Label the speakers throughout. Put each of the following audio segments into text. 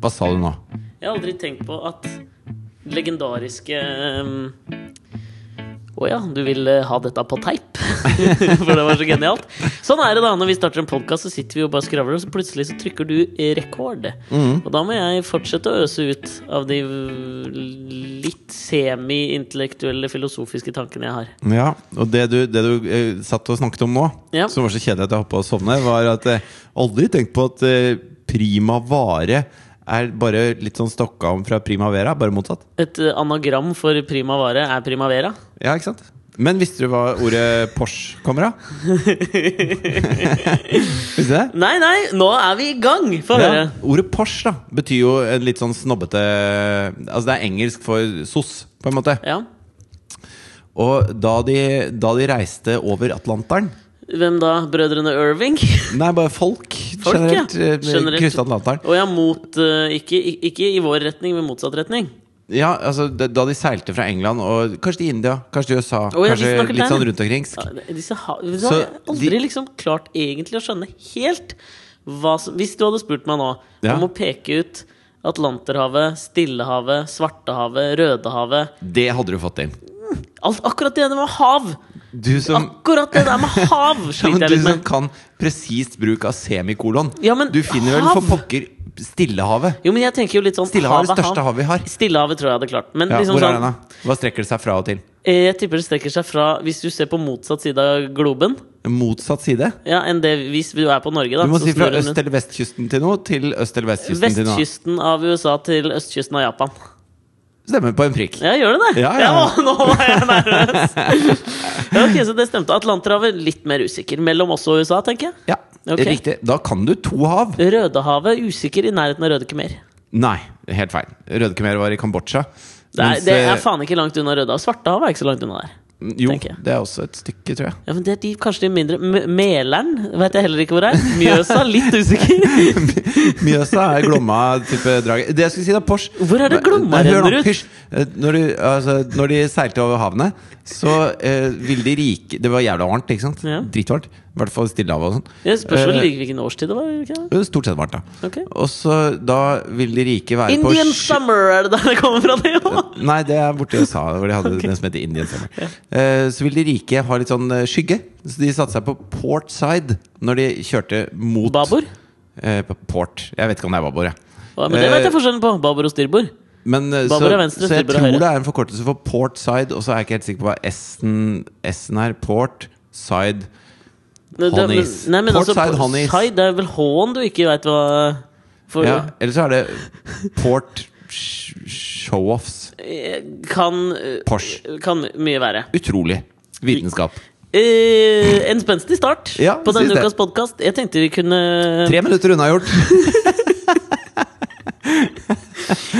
Speaker 1: Hva sa du nå?
Speaker 2: Jeg har aldri tenkt på at legendariske ehm, Å ja, du vil eh, ha dette på teip? For det var så genialt. Sånn er det da når vi starter en podkast, så sitter vi og bare skravler, og så plutselig så trykker du rekord. Og da må jeg fortsette å øse ut av de v- litt semi-intellektuelle, filosofiske tankene jeg har.
Speaker 1: Ja, og det du, det du eh, satt og snakket om nå,
Speaker 2: Ja.
Speaker 1: som var så kjedelig at jeg hoppa og sovne, var at jeg aldri tenkt på at eh, prima vare er bare litt sånn Stockholm fra primavera, bare motsatt.
Speaker 2: Et eh, anagram for prima vare er primavera.
Speaker 1: Ja, ikke sant? Men visste du hva ordet Porsche kommer av? visste du det?
Speaker 2: Nei, nei, nå er vi i gang! Få høre.
Speaker 1: Ja, ordet Porsche da, betyr jo en litt sånn snobbete Altså det er engelsk for SOS, på en måte.
Speaker 2: Ja.
Speaker 1: Og da de, da de reiste over Atlanteren
Speaker 2: Hvem da? Brødrene Irving?
Speaker 1: Nei, bare folk,
Speaker 2: Folk, ja.
Speaker 1: generelt. eh,
Speaker 2: Generelt.
Speaker 1: Krysset Atlanteren.
Speaker 2: Og ja, mot eh, ikke, i- ikke i vår retning, men motsatt retning.
Speaker 1: Ja, altså da da de seilte fra England, og kanskje til India, kanskje til USA,
Speaker 2: Å, ja, de
Speaker 1: kanskje
Speaker 2: snakker
Speaker 1: litt
Speaker 2: der.
Speaker 1: sånn rundt omkring.
Speaker 2: Ja, Disse ha, vi
Speaker 1: Så
Speaker 2: har aldri
Speaker 1: de-
Speaker 2: liksom klart egentlig å skjønne helt hva som Hvis du hadde spurt meg nå
Speaker 1: Ja.
Speaker 2: om å peke ut Atlanterhavet, Stillehavet, Svartehavet, Rødehavet
Speaker 1: Det hadde du fått inn.
Speaker 2: alt, Akkurat det der med hav!
Speaker 1: Du som,
Speaker 2: Akkurat det der med hav
Speaker 1: ja, men liksom-
Speaker 2: sliter jeg
Speaker 1: du
Speaker 2: litt
Speaker 1: som
Speaker 2: med.
Speaker 1: kan presist bruk av semikolon.
Speaker 2: Ja, men
Speaker 1: du finner vel
Speaker 2: hav?
Speaker 1: for pokker Stillehavet.
Speaker 2: Jo, men jeg tenker jo litt sånn
Speaker 1: Stillehavet er det
Speaker 2: hav
Speaker 1: største havet vi har.
Speaker 2: Stillehavet tror jeg jeg hadde klart. Men
Speaker 1: Ja,
Speaker 2: liksom
Speaker 1: hvor er
Speaker 2: sånn
Speaker 1: den, da? Hva strekker det seg fra og til?
Speaker 2: eh, Jeg tipper det strekker seg fra Hvis du ser på motsatt side av globen,
Speaker 1: Motsatt side?
Speaker 2: ja, enn det hvis du er på Norge, da
Speaker 1: Du må
Speaker 2: så
Speaker 1: si fra
Speaker 2: snur den
Speaker 1: øst-
Speaker 2: rundt.
Speaker 1: eller vestkysten til noe til øst- eller vestkysten til noe.
Speaker 2: Vestkysten av USA til østkysten av Japan.
Speaker 1: Stemmer på en prikk.
Speaker 2: Ja, gjør det det?
Speaker 1: Ja, ja.
Speaker 2: å, nå var jeg nervøs! ja, ok, Så det stemte. Atlanterhavet litt mer usikker. Mellom oss og USA, tenker jeg.
Speaker 1: Ja,
Speaker 2: Ok.
Speaker 1: Riktig. Da kan du to hav.
Speaker 2: Rødehavet usikker i nærheten av Røde Khmer.
Speaker 1: Nei, helt feil. Rødekhmer var i Kambodsja.
Speaker 2: Det er,
Speaker 1: mens,
Speaker 2: det er
Speaker 1: eh,
Speaker 2: faen ikke langt unna Rødehavet. Svartehavet er ikke så langt unna der.
Speaker 1: Jo,
Speaker 2: tenker jeg.
Speaker 1: det er også et stykke, tror jeg.
Speaker 2: Ja, men det er de, kanskje de mindre M Mæleren vet jeg heller ikke hvor er. Mjøsa, litt usikker.
Speaker 1: Mjøsa er Glomma-type draget. Det jeg skulle si, da, Porsche
Speaker 2: Hvor er det Glomma
Speaker 1: Nei, hør nå,
Speaker 2: renner ut?
Speaker 1: hysj. Eh, Når, du, altså, når de seilte over havnet, så eh, ville de rike Det var jævla varmt, ikke sant?
Speaker 2: Ja.
Speaker 1: Dritvarmt. I hvert fall Stillehavet og sånn.
Speaker 2: Det spørs vel
Speaker 1: Eh,
Speaker 2: hvilken årstid det var. Ikke det?
Speaker 1: det var Stort sett varmt, da.
Speaker 2: Ok.
Speaker 1: Og så da vil de rike være på
Speaker 2: Indian
Speaker 1: sju- Eh,
Speaker 2: Summer er det der det kommer fra? det jo.
Speaker 1: Nei, det er borte i USA, hvor de hadde den som heter Indian Summer. Eh, så vil de rike ha litt sånn eh, skygge, så de satte seg på port side når de kjørte mot
Speaker 2: Babord?
Speaker 1: Eh, på port. Jeg vet ikke om det er babord, jeg.
Speaker 2: Ja, Men det vet
Speaker 1: Eh,
Speaker 2: jeg forskjellen på. Babord og styrbord.
Speaker 1: Men, eh, så,
Speaker 2: Babord er venstre,
Speaker 1: så jeg
Speaker 2: styrbord er
Speaker 1: tror
Speaker 2: høyre.
Speaker 1: det er en forkortelse for port side, og så er jeg ikke helt sikker på hva S-en S-en er. Port side
Speaker 2: Nei, det-
Speaker 1: Honeys.
Speaker 2: Nei, men altså,
Speaker 1: Portside honeys.
Speaker 2: side, det er vel H-en du ikke veit hva for,
Speaker 1: ja, Eller så er det port sh- showoffs.
Speaker 2: eh, Kan eh,
Speaker 1: Porsche.
Speaker 2: Kan mye være.
Speaker 1: Utrolig vitenskap.
Speaker 2: Eh, en spenstig start
Speaker 1: Ja,
Speaker 2: på denne
Speaker 1: synes det.
Speaker 2: ukas podkast. Jeg tenkte vi kunne
Speaker 1: Tre minutter unnagjort.
Speaker 2: ja,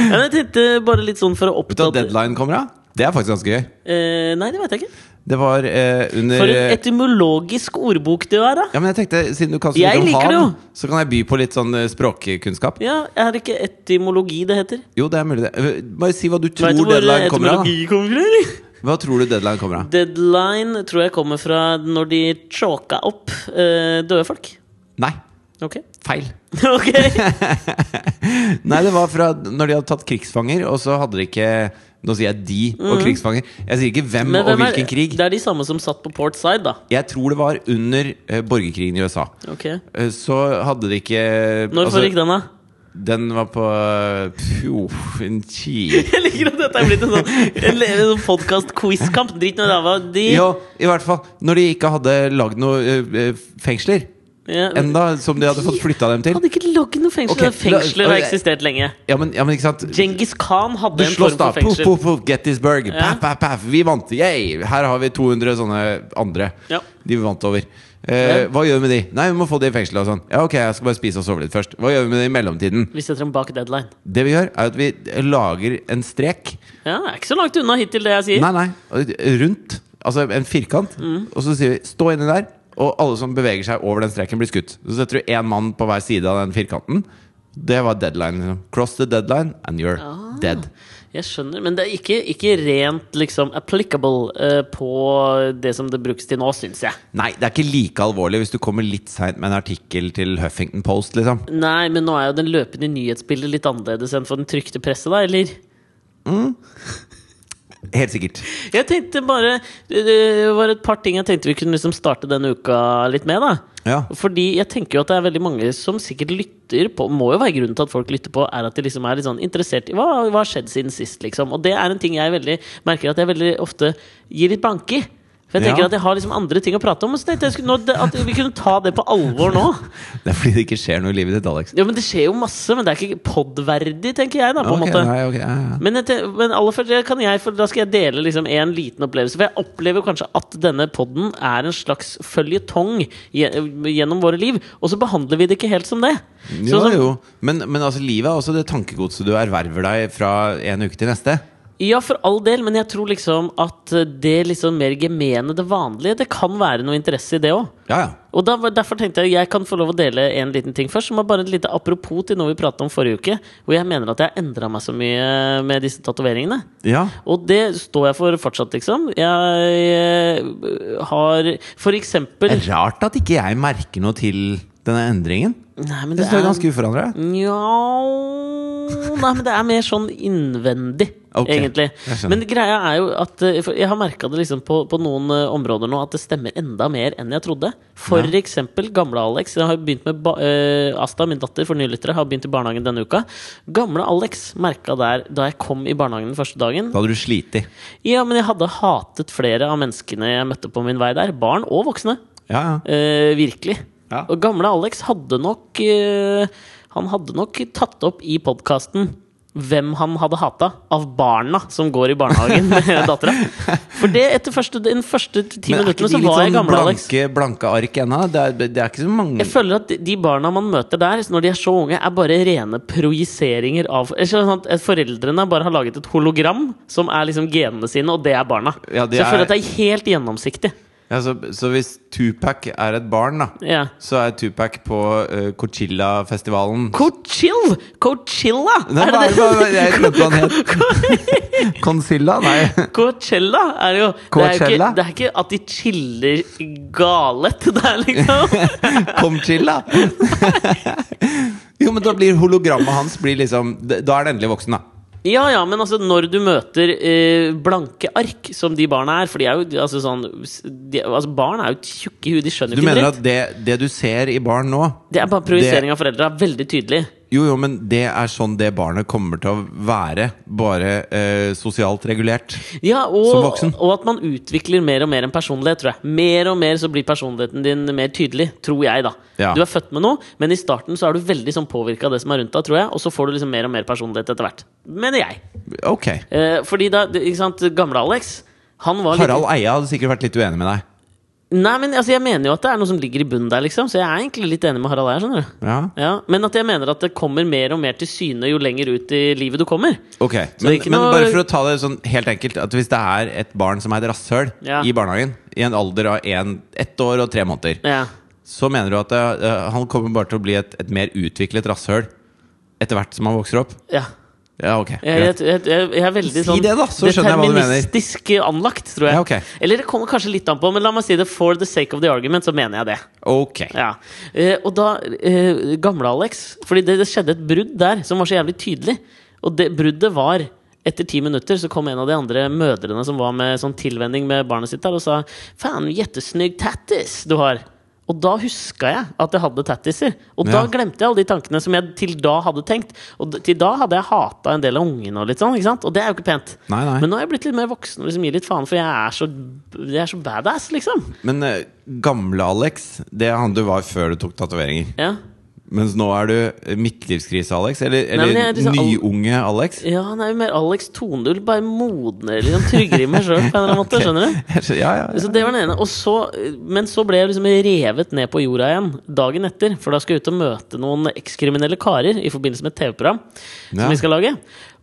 Speaker 2: men Jeg tenkte bare litt sånn for å
Speaker 1: Vet du hva
Speaker 2: oppdage
Speaker 1: deadline kommer av? Det er faktisk ganske gøy.
Speaker 2: eh, Nei, det veit jeg ikke.
Speaker 1: Det var eh, under
Speaker 2: For en etymologisk ordbok du er, da.
Speaker 1: Ja, men jeg tenkte, siden du kan så
Speaker 2: Jeg
Speaker 1: mye om
Speaker 2: liker det
Speaker 1: hav, så kan jeg by på litt sånn eh, språkkunnskap.
Speaker 2: Ja, Er det ikke etymologi det heter?
Speaker 1: Jo, det er mulig, det. Eh, Bare si hva du tror
Speaker 2: Vet du hvor eh,
Speaker 1: deadline kommer av.
Speaker 2: etymologi kommer fra? eller?
Speaker 1: da. Hva tror du deadline kommer av?
Speaker 2: Deadline tror jeg kommer fra når de chalka opp eh, døde folk.
Speaker 1: Nei,
Speaker 2: Ok.
Speaker 1: feil.
Speaker 2: ok
Speaker 1: Nei, det var fra når de hadde tatt krigsfanger, og så hadde de ikke Nå sier jeg de og krigsfanger. Jeg sier ikke hvem,
Speaker 2: Mm. Men
Speaker 1: og
Speaker 2: hvem er-
Speaker 1: hvilken krig.
Speaker 2: Det er de samme som satt på port side, da.
Speaker 1: Jeg tror det var under eh, borgerkrigen i USA.
Speaker 2: Ok
Speaker 1: Eh, Så hadde de ikke
Speaker 2: Når
Speaker 1: altså,
Speaker 2: foregikk den, da?
Speaker 1: Den var på eh, pjo, en ki-
Speaker 2: Jeg liker at dette er blitt en sånn, en le- en sånn podkast-quizkamp. Drit nå i ræva. De
Speaker 1: Jo, i hvert fall. Når de ikke hadde lagd noen fengsler
Speaker 2: Ja,
Speaker 1: enda, som de hadde fått flytta dem til.
Speaker 2: Hadde ikke logget noe fengsel.
Speaker 1: Ok, la-
Speaker 2: Fengsler har
Speaker 1: ok.
Speaker 2: eksistert lenge.
Speaker 1: Ja, men, ja, men ikke sant?
Speaker 2: Djengis Khan hadde
Speaker 1: Du
Speaker 2: en
Speaker 1: slåss,
Speaker 2: form
Speaker 1: da.
Speaker 2: for
Speaker 1: Poff,
Speaker 2: fengsel.
Speaker 1: poff, poff. Gettysburg.
Speaker 2: Ja.
Speaker 1: Paff, paff, paff. Vi vant. Yay! Her har vi 200 sånne andre.
Speaker 2: Ja.
Speaker 1: De vi vant over. Eh, hva gjør vi med de? Nei, vi må få de i fengsel og sånn. Ja, ok, jeg skal bare spise og sove litt først. Hva gjør vi med de i mellomtiden?
Speaker 2: Vi setter dem bak deadline.
Speaker 1: Det vi gjør, er at vi lager en strek.
Speaker 2: Ja, det er ikke så langt unna hittil, det jeg sier.
Speaker 1: Nei, nei. Rundt. Altså en firkant.
Speaker 2: Mm.
Speaker 1: Og så sier vi 'stå inni der', og alle som beveger seg over den streken, blir skutt. Så setter du én mann på
Speaker 2: Ah.
Speaker 1: hver side av den firkanten. Det var deadline. liksom. Cross the deadline, and you're dead.
Speaker 2: Jeg skjønner, men det er ikke, ikke rent liksom applicable eh, på det som det brukes til nå, syns jeg.
Speaker 1: Nei, det er ikke like alvorlig hvis du kommer litt seint med en artikkel til Huffington Post, liksom.
Speaker 2: Nei, men nå er jo den løpende nyhetsbildet litt annerledes enn for den trykte presse, da, eller?
Speaker 1: Helt sikkert.
Speaker 2: Jeg tenkte bare Det var et par ting jeg tenkte vi kunne liksom starte denne uka litt med, da.
Speaker 1: Ja.
Speaker 2: Fordi jeg tenker jo at det er veldig mange som sikkert lytter på Må jo være grunnen til at folk lytter på, er at de liksom er litt sånn interessert i hva, hva har skjedd siden sist, liksom. Og det er en ting jeg veldig merker at jeg veldig ofte gir litt banke i. For jeg tenker
Speaker 1: Ja.
Speaker 2: at jeg har liksom andre ting å prate om. Og så tenkte jeg skulle, nå, at vi kunne ta det på alvor nå.
Speaker 1: Det er fordi det ikke skjer noe i livet ditt, Alex.
Speaker 2: Ja, men det skjer jo masse, men det er ikke podverdig, tenker jeg, da, på en
Speaker 1: Ok,
Speaker 2: måte.
Speaker 1: Nei, ok, ja, ja.
Speaker 2: Men, etter, men aller først det kan jeg, for da skal jeg dele liksom en liten opplevelse. For jeg opplever kanskje at denne podden er en slags føljetong gje- gjennom våre liv. Og så behandler vi det ikke helt som det.
Speaker 1: Jo,
Speaker 2: Sånn som-
Speaker 1: jo. Men, men altså, livet er også det tankegodset du erverver deg fra en uke til neste.
Speaker 2: Ja, for all del, men jeg tror liksom at det liksom mer gemene, det vanlige, det kan være noe interesse i det òg.
Speaker 1: Ja, ja.
Speaker 2: Og da, var- Derfor tenkte jeg jeg kan få lov å dele en liten ting først. Som er bare et lite apropos til noe vi pratet om forrige uke. Hvor jeg mener at jeg har endra meg så mye med disse tatoveringene.
Speaker 1: Ja,
Speaker 2: Og det står jeg for fortsatt, liksom. Jeg eh, har for eksempel
Speaker 1: Det er rart at ikke jeg merker noe til denne endringen.
Speaker 2: Nei, men
Speaker 1: Det
Speaker 2: det
Speaker 1: står
Speaker 2: er
Speaker 1: ganske uforandra.
Speaker 2: Nja Nei, men det er mer sånn innvendig,
Speaker 1: Ok,
Speaker 2: egentlig.
Speaker 1: jeg skjønner.
Speaker 2: Men greia er jo at eh, for jeg har merka det liksom på, på noen eh, områder nå at det stemmer enda mer enn jeg trodde. For
Speaker 1: Ja.
Speaker 2: eksempel gamle Alex. Jeg har jo begynt med ba eh, Asta, min datter, for nylyttere, har begynt i barnehagen denne uka. Gamle Alex merka der da jeg kom i barnehagen den første dagen,
Speaker 1: Da hadde du slitt.
Speaker 2: Ja, men jeg hadde hatet flere av menneskene jeg møtte på min vei der. Barn og voksne.
Speaker 1: Ja, ja.
Speaker 2: Eh, virkelig.
Speaker 1: Ja.
Speaker 2: Og gamle Alex hadde nok eh, Han hadde nok tatt opp i podkasten hvem han hadde hata av barna som går i barnehagen med dattera. For det etter første, den første ti
Speaker 1: Men er ikke
Speaker 2: minuttene
Speaker 1: de
Speaker 2: så
Speaker 1: litt
Speaker 2: var jeg
Speaker 1: sånn
Speaker 2: gamle Alex.
Speaker 1: blanke, blanke ark ennå? Det, er- det er ikke så mange
Speaker 2: Jeg føler at de barna man møter der, når de er så unge, er bare rene projiseringer av Jeg skjønner sånn at Foreldrene bare har laget et hologram som er liksom genene sine, og det er barna.
Speaker 1: Ja,
Speaker 2: så
Speaker 1: det
Speaker 2: jeg
Speaker 1: er-
Speaker 2: føler at det er helt gjennomsiktig.
Speaker 1: ja, så, Altså, så hvis Tupac er et barn, da,
Speaker 2: Ja.
Speaker 1: så er Tupac på uh, Coachilla-festivalen
Speaker 2: Cochill! Coachilla!
Speaker 1: Nei,
Speaker 2: Er
Speaker 1: hva er
Speaker 2: det
Speaker 1: det hva- hva- jeg glemte hva han het? Consilla? Nei.
Speaker 2: det? Coachella er det jo Det, er jo
Speaker 1: Coachella?
Speaker 2: ikke, det er ikke at de chiller galet der, liksom.
Speaker 1: Comchilla? Jo, men da blir hologrammet hans blir liksom Da er det endelig voksen, da.
Speaker 2: Ja ja, men altså, når du møter eh, blanke ark, som de barna er For de er jo altså sånn de, altså, Barn er jo tjukke i huet, de skjønner
Speaker 1: Du
Speaker 2: jo ikke
Speaker 1: mener
Speaker 2: dritt.
Speaker 1: at det, det du ser i barn nå
Speaker 2: Det er bare projisering av foreldra. Veldig tydelig.
Speaker 1: Jo, jo, men det er sånn det barnet kommer til å være. Bare eh, sosialt regulert.
Speaker 2: Ja,
Speaker 1: Som
Speaker 2: og,
Speaker 1: voksen.
Speaker 2: og at man utvikler mer og mer en personlighet, tror jeg. Mer og mer så blir personligheten din mer tydelig, tror jeg, da.
Speaker 1: Ja.
Speaker 2: Du er født med noe, men i starten så er du veldig sånn påvirka av det som er rundt deg, tror jeg. Og så får du liksom mer og mer personlighet etter hvert. Mener jeg.
Speaker 1: Ok.
Speaker 2: Eh, fordi da, det- ikke sant, gamle Alex, han var litt
Speaker 1: Harald Eia hadde sikkert vært litt uenig med deg.
Speaker 2: Nei, men altså, jeg mener jo at det er noe som ligger i bunnen der, liksom. Så jeg er egentlig litt enig med Harald her, skjønner du.
Speaker 1: Ja.
Speaker 2: Ja, men at jeg mener at det kommer mer og mer til syne jo lenger ut i livet du kommer.
Speaker 1: Ok,
Speaker 2: Så
Speaker 1: men,
Speaker 2: det er ikke
Speaker 1: men
Speaker 2: noe-
Speaker 1: bare for å ta det sånn helt enkelt At Hvis det er et barn som er et rasshøl
Speaker 2: Ja.
Speaker 1: i barnehagen, i en alder av en, ett år og tre måneder,
Speaker 2: Ja.
Speaker 1: så mener du at eh, han kommer bare til å bli et, et mer utviklet rasshøl etter hvert som han vokser opp?
Speaker 2: ja.
Speaker 1: Ja, ok.
Speaker 2: Jeg, jeg,
Speaker 1: greit.
Speaker 2: jeg, jeg, jeg er veldig
Speaker 1: Si
Speaker 2: sånn
Speaker 1: det da, så skjønner jeg hva du mener.
Speaker 2: deterministisk anlagt, tror jeg.
Speaker 1: Ja, ok.
Speaker 2: Eller det kommer kanskje litt an på, men la meg si det for the sake of the argument, så mener jeg det.
Speaker 1: Ok.
Speaker 2: Ja. Eh, og da eh, Gamle-Alex Fordi det, det skjedde et brudd der som var så jævlig tydelig. Og det bruddet var etter ti minutter så kom en av de andre mødrene som var med sånn tilvenning med barnet sitt der, og sa 'Faen, jettesnygg tattis du har'. Og da huska jeg at jeg hadde tattiser. Og da
Speaker 1: Ja.
Speaker 2: glemte jeg alle de tankene som jeg til da hadde tenkt. Og d- til da hadde jeg hata en del av ungene og litt sånn, ikke sant? Og det er jo ikke pent.
Speaker 1: Nei, nei.
Speaker 2: Men nå er jeg blitt litt mer voksen og liksom gir litt faen, for jeg er så, jeg er så badass, liksom.
Speaker 1: Men eh, gamle Alex, det er han du var før du tok tatoveringer.
Speaker 2: Ja.
Speaker 1: Mens nå er du eh, midtlivskrise-Alex? Eller, eller
Speaker 2: men jeg er liksom al-
Speaker 1: nyunge Alex?
Speaker 2: Ja, han er jo mer Alex Tonull, bare modnere, liksom tryggere i meg sjøl på en eller annen måte. Skjønner du?
Speaker 1: Jeg skjø- Ja, ja,
Speaker 2: Så det var den ene. Og så, men så ble jeg liksom revet ned på jorda igjen dagen etter. For da skal jeg ut og møte noen ekskriminelle karer i forbindelse med et TV-program som
Speaker 1: Ja.
Speaker 2: vi skal lage.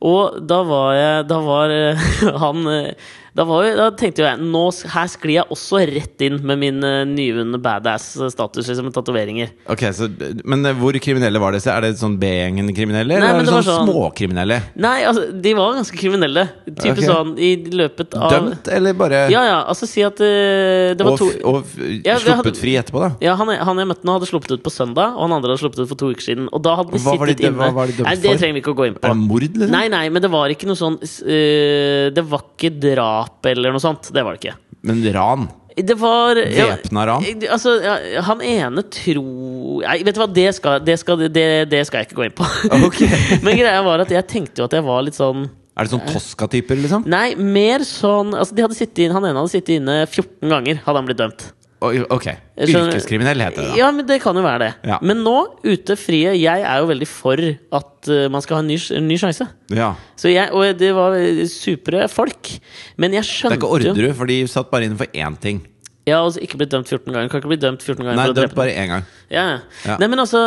Speaker 2: Og da var jeg Da var eh, han eh, da, var, jo- da tenkte jo jeg nå, s- Her sklir jeg også rett inn med min eh, nyvunne badass-status liksom, med tatoveringer.
Speaker 1: Ok, så, Men eh, hvor kriminelle var disse? Er det sånn B-gjengen kriminelle? Eller
Speaker 2: Nei,
Speaker 1: er
Speaker 2: men
Speaker 1: det,
Speaker 2: det
Speaker 1: sånn,
Speaker 2: var sånn-
Speaker 1: småkriminelle?
Speaker 2: Nei, altså, de var ganske kriminelle. Type
Speaker 1: Ok.
Speaker 2: sånn i løpet av
Speaker 1: Dømt, eller bare
Speaker 2: Ja, ja. Altså, si at eh, det var
Speaker 1: og,
Speaker 2: to
Speaker 1: f- og f-
Speaker 2: Ja, vi hadde-
Speaker 1: sluppet fri etterpå, da?
Speaker 2: Ja, han, han jeg møtte nå, hadde sluppet ut på søndag, og han andre hadde sluppet ut for to uker siden. Og da hadde de
Speaker 1: Hva var de-
Speaker 2: sittet inne
Speaker 1: hva var de dømt
Speaker 2: Nei, Det
Speaker 1: for?
Speaker 2: trenger vi ikke å gå inn på.
Speaker 1: Er det mord, liksom?
Speaker 2: Nei, nei, men det var ikke noe sånn s- øh, Det var ikke drap eller noe sånt. Det var det ikke.
Speaker 1: Men ran?
Speaker 2: Det var ja,
Speaker 1: Væpna ran?
Speaker 2: eh, Altså, ja, han ene tror Nei, vet du hva, det skal, det skal, det, det skal jeg ikke gå inn på.
Speaker 1: Ok.
Speaker 2: men greia var at jeg tenkte jo at jeg var litt sånn
Speaker 1: Er det sånn Tosca-typer, liksom?
Speaker 2: Nei, mer sånn Altså, de hadde sittet inn, han ene hadde sittet inne 14 ganger, hadde han blitt dømt.
Speaker 1: Oi, Ok.
Speaker 2: Jeg skjønner-
Speaker 1: Yrkeskriminell heter det, da.
Speaker 2: Ja, men det kan jo være det.
Speaker 1: Ja.
Speaker 2: Men nå, ute frie, jeg er jo veldig for at eh, man skal ha en ny, sj- en ny sjanse.
Speaker 1: Ja.
Speaker 2: Så jeg, og det var eh, supre folk. Men jeg
Speaker 1: Det
Speaker 2: skjønte
Speaker 1: er ikke Orderud, for de satt bare inne for én ting.
Speaker 2: Jeg har altså ikke blitt dømt 14 ganger. Kan ikke bli dømt 14 ganger
Speaker 1: Nei,
Speaker 2: for å
Speaker 1: dømt
Speaker 2: drepe.
Speaker 1: bare én gang.
Speaker 2: Ja.
Speaker 1: Ja.
Speaker 2: Nei, men altså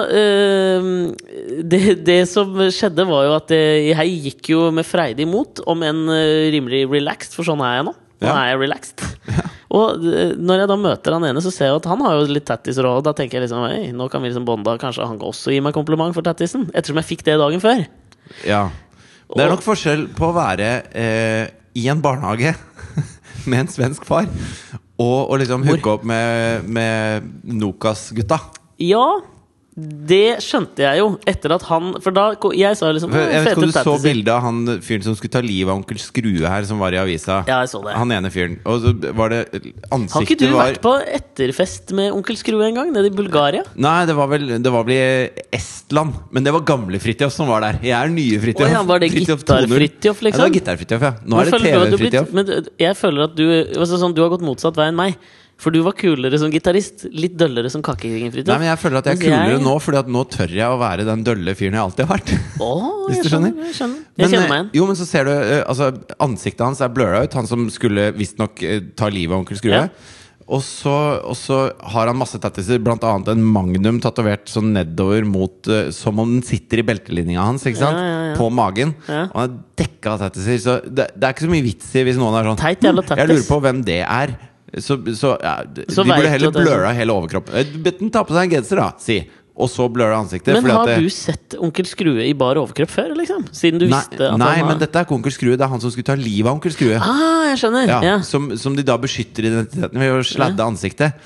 Speaker 2: eh, det, det som skjedde, var jo at eh, jeg gikk jo med freidig mot, om enn eh, rimelig relaxed, for sånn er jeg nå. Nå
Speaker 1: Ja.
Speaker 2: er jeg relaxed. Og eh, når jeg da møter han ene, så ser jeg jo at han har jo litt tattiser òg. Da tenker jeg liksom Oi, nå kan vi liksom bonde. Kanskje han kan også gi meg kompliment for tattisen? Ettersom jeg fikk det dagen før.
Speaker 1: Ja. Det er
Speaker 2: Og-
Speaker 1: nok forskjell på å være eh, i en barnehage med en svensk far og å liksom hooke opp med, med Nokas-gutta.
Speaker 2: Ja, det skjønte jeg jo etter at han For da ko- Jeg sa liksom
Speaker 1: For Jeg vet ikke om
Speaker 2: «Fete
Speaker 1: du så
Speaker 2: tattiser».
Speaker 1: bildet av han fyren som skulle ta livet av onkel Skrue her, som var i avisa.
Speaker 2: Ja, jeg så det.
Speaker 1: Han ene fyren. Og så var det ansiktet
Speaker 2: Har ikke du
Speaker 1: var
Speaker 2: vært på etterfest med onkel Skrue en gang, nede i Bulgaria?
Speaker 1: Nei, det var vel det var vel i Estland. Men det var gamle Fridtjof som var der. Jeg er nye Fridtjof.
Speaker 2: Å ja, var det
Speaker 1: 2.0.
Speaker 2: Gitar-Fridtjof,
Speaker 1: Ja,
Speaker 2: liksom?
Speaker 1: det var Gitar-Fritjof, ja. Nå er det
Speaker 2: Hvorfor føler du at du har
Speaker 1: TV-Fritjof.
Speaker 2: blitt- Men du- jeg føler at du altså sånn, Du har gått motsatt vei enn meg. For du var kulere som gitarist, litt døllere som kakekrigen, Fridtjof.
Speaker 1: Nei, men jeg føler at jeg er
Speaker 2: Mens jeg-
Speaker 1: kulere nå, Fordi at nå tør jeg å være den dølle fyren jeg alltid har vært.
Speaker 2: Å,
Speaker 1: Hvis
Speaker 2: jeg
Speaker 1: du
Speaker 2: skjønner.
Speaker 1: skjønner.
Speaker 2: Jeg, skjønner. jeg
Speaker 1: Men,
Speaker 2: kjenner meg
Speaker 1: eh,
Speaker 2: igjen.
Speaker 1: jo, men så ser du eh, altså, Ansiktet hans er blurra ut. Han som skulle visstnok eh, ta livet av onkel Skrue.
Speaker 2: Ja.
Speaker 1: Og, så, og så har han masse tattiser, blant annet en magnum tatovert sånn nedover mot eh, Som om den sitter i beltelinninga hans, ikke sant?
Speaker 2: Ja, ja, ja.
Speaker 1: På magen.
Speaker 2: Ja.
Speaker 1: Og han er dekka av tattiser, så det, det er ikke så mye vits i hvis noen er sånn
Speaker 2: Teit jævla
Speaker 1: «Hm, Jeg lurer
Speaker 2: tattis».
Speaker 1: på hvem det er. Så, så ja, d-
Speaker 2: Så
Speaker 1: de
Speaker 2: vet
Speaker 1: burde heller
Speaker 2: du at det er sånn.
Speaker 1: blurra hele overkroppen. Eh, Bedt den ta på seg en genser, da, si. Og så blurra ansiktet.
Speaker 2: Men
Speaker 1: fordi at eh, det-
Speaker 2: har du sett onkel Skrue i bar overkropp før, liksom? Siden du
Speaker 1: Nei,
Speaker 2: visste at
Speaker 1: nei
Speaker 2: han var-
Speaker 1: men dette er ikke onkel Skrue. Det er han som skulle ta livet av onkel Skrue.
Speaker 2: Ah, jeg skjønner.
Speaker 1: Ja,
Speaker 2: Ja.
Speaker 1: som, som de da beskytter identiteten ved å sladde ansiktet.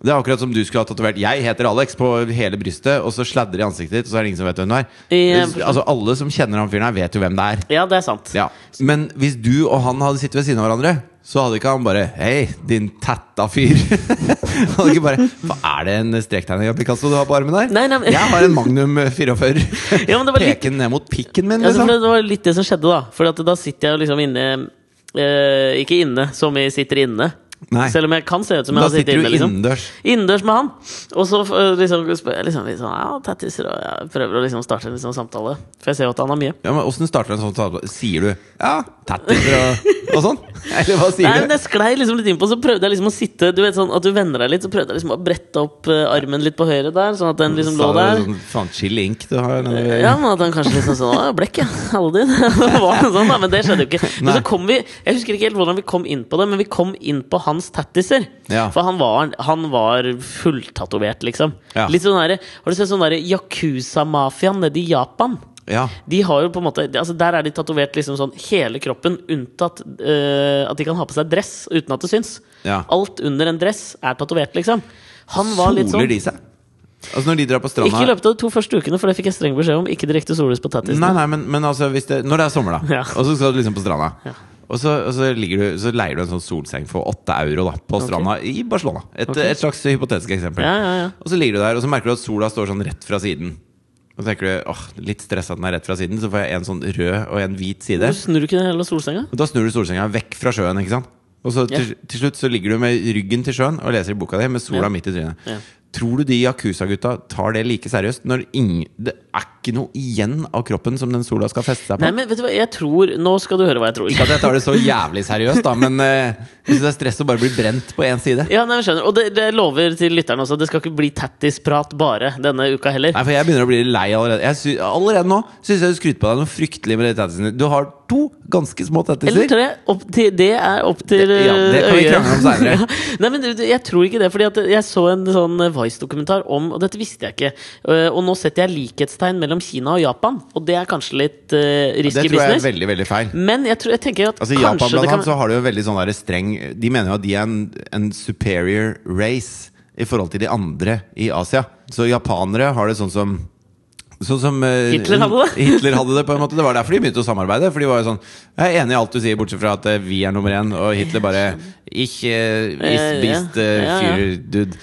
Speaker 1: Det er akkurat som du skulle ha tatovert 'Jeg heter Alex' på hele brystet, og så sladder de ansiktet ditt, og så er det ingen som vet hvem du er.
Speaker 2: Ja, forstår.
Speaker 1: altså, alle som kjenner han fyren her, vet jo hvem det er.
Speaker 2: ja, det er sant.
Speaker 1: Ja. Men hvis du og han hadde sittet ved siden av hverandre, så hadde ikke han bare 'Hei, din tætta fyr'. Han hadde ikke bare 'Hva er det en strektegning av Picasso du har på armen der?'
Speaker 2: Nei, nei, men-
Speaker 1: Jeg har en Magnum 44.
Speaker 2: Ja, men det var litt-
Speaker 1: Peken ned mot pikken min,
Speaker 2: Ja,
Speaker 1: liksom.
Speaker 2: så for det var litt det som skjedde, da. For at da sitter jeg jo liksom inne eh, Ikke inne, som i sitter inne.
Speaker 1: Nei.
Speaker 2: Selv om jeg kan se ut som jeg
Speaker 1: Da
Speaker 2: har sittet
Speaker 1: sitter du
Speaker 2: inne. Liksom.
Speaker 1: innendørs.
Speaker 2: Innendørs med han. Og så eh, liksom, spør jeg liksom, litt sånn, ja, tattiser, og jeg prøver å liksom starte en liksom, samtale. For jeg ser jo at han har mye.
Speaker 1: Ja, men Åssen starter en sånn samtale? Sier du 'ja, tattiser' og, og sånn? Eller hva sier
Speaker 2: Nei, men
Speaker 1: du?
Speaker 2: jeg sklei liksom litt innpå, så prøvde jeg liksom å sitte Du vet sånn at du vender deg litt, så prøvde jeg liksom å brette opp eh, armen litt på høyre der, sånn at den liksom
Speaker 1: Sa
Speaker 2: lå
Speaker 1: du
Speaker 2: der.
Speaker 1: sånn faen chill ink du har nede ved-
Speaker 2: Eh, Ja, men at han kanskje liksom sånn «Å, Blekk, ja. Aldri. Det var noe sånt, da, men det skjedde jo ikke. Men
Speaker 1: Nei.
Speaker 2: så kom vi Jeg husker ikke helt hvordan vi kom inn på det, men vi kom inn på hans tattiser.
Speaker 1: Ja.
Speaker 2: For han var, han var fulltatovert, liksom.
Speaker 1: Ja.
Speaker 2: Litt sånn derre Har du sett sånn derre Yakuza-mafiaen nede i Japan?
Speaker 1: ja.
Speaker 2: De har jo på en måte Altså Der er de tatovert liksom sånn hele kroppen, unntatt eh, at de kan ha på seg dress uten at det syns.
Speaker 1: Ja.
Speaker 2: Alt under en dress er tatovert, liksom. Han var
Speaker 1: Soler
Speaker 2: litt sånn
Speaker 1: de seg? Altså Når de drar på
Speaker 2: Ikke i
Speaker 1: stranda
Speaker 2: løpet av de to første ukene, for det fikk jeg streng beskjed om. Ikke direkte sollys på tattisene.
Speaker 1: Nei, nei, men, men altså hvis det, Når det er sommer, da,
Speaker 2: Ja.
Speaker 1: og så skal du liksom på stranda.
Speaker 2: Ja.
Speaker 1: Og, så, og så, ligger du, så leier du en sånn solseng for åtte euro da på stranda i Barcelona. Et, et slags hypotetisk eksempel.
Speaker 2: Ja, ja, ja.
Speaker 1: Og så ligger du der, og så merker du at sola står sånn rett fra siden. Og så tenker du åh, litt stressa at den er rett fra siden, så får jeg en sånn rød og en hvit side.
Speaker 2: Du snur ikke den hele solsenga?
Speaker 1: Og da snur du solsenga vekk fra sjøen, ikke sant? Og så til, til slutt så ligger du med ryggen til sjøen og leser i boka di med sola
Speaker 2: Ja.
Speaker 1: midt i trynet.
Speaker 2: Ja.
Speaker 1: Tror du de Yakuza-gutta tar det like seriøst når ingen, det er ikke noe igjen av kroppen som den sola skal feste seg på?
Speaker 2: Nei, men vet du hva, jeg tror Nå skal du høre hva jeg tror.
Speaker 1: Ikke at jeg tar det så jævlig seriøst, da, men eh, jeg synes det er stress å bare bli brent på én side.
Speaker 2: Ja, nei, jeg skjønner. Og det, det lover til lytterne også. Det skal ikke bli tattisprat bare denne uka heller.
Speaker 1: Nei, for jeg begynner å bli lei allerede. Jeg sy allerede nå syns jeg du skryter på deg noe fryktelig med de tattisene. Du har to ganske små
Speaker 2: Eller
Speaker 1: tattiser.
Speaker 2: tre. Opp til, det er opp til
Speaker 1: Det- ja, det kan vi
Speaker 2: øyet.
Speaker 1: krangle om senere.
Speaker 2: Ja. Nei, men du, du, jeg tror ikke det. Fordi at jeg så en sånn Vice-dokumentar om Og dette visste jeg ikke. Eh, Og nå setter jeg likhetstegn mellom Kina og Japan. Og det er kanskje litt eh,
Speaker 1: Det
Speaker 2: risky
Speaker 1: tror jeg er
Speaker 2: business.
Speaker 1: veldig, veldig feil.
Speaker 2: Men jeg, tror, jeg tenker at
Speaker 1: Altså I Japan
Speaker 2: kanskje
Speaker 1: blant
Speaker 2: det kan
Speaker 1: annet så har de jo veldig sånn der streng De mener jo at de er en, en superior race i forhold til de andre i Asia. Så japanere har det sånn som Sånn som eh,
Speaker 2: Hitler hadde det.
Speaker 1: Hitler hadde det på en måte Det var derfor de begynte å samarbeide. For de var jo sånn Jeg er enig i alt du sier, bortsett fra at eh, vi er nummer én, og Hitler bare Ikke
Speaker 2: Eh,
Speaker 1: is beast eh,
Speaker 2: ja, ja.
Speaker 1: Führer, dude.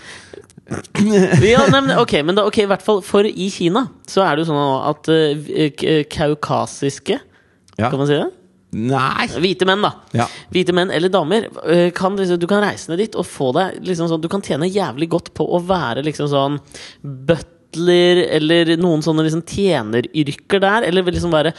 Speaker 2: ja, nei, men, ok, men da, ok, i hvert fall for i Kina så er det jo sånn nå at eh, v- k- kaukasiske
Speaker 1: Ja.
Speaker 2: Kan man si det?
Speaker 1: Nei!
Speaker 2: Hvite menn, da.
Speaker 1: Ja.
Speaker 2: Hvite menn eller damer. eh, Kan, liksom, du kan reise ned dit og få deg liksom sånn Du kan tjene jævlig godt på å være liksom sånn butler eller noen sånne liksom tjeneryrker der, eller liksom være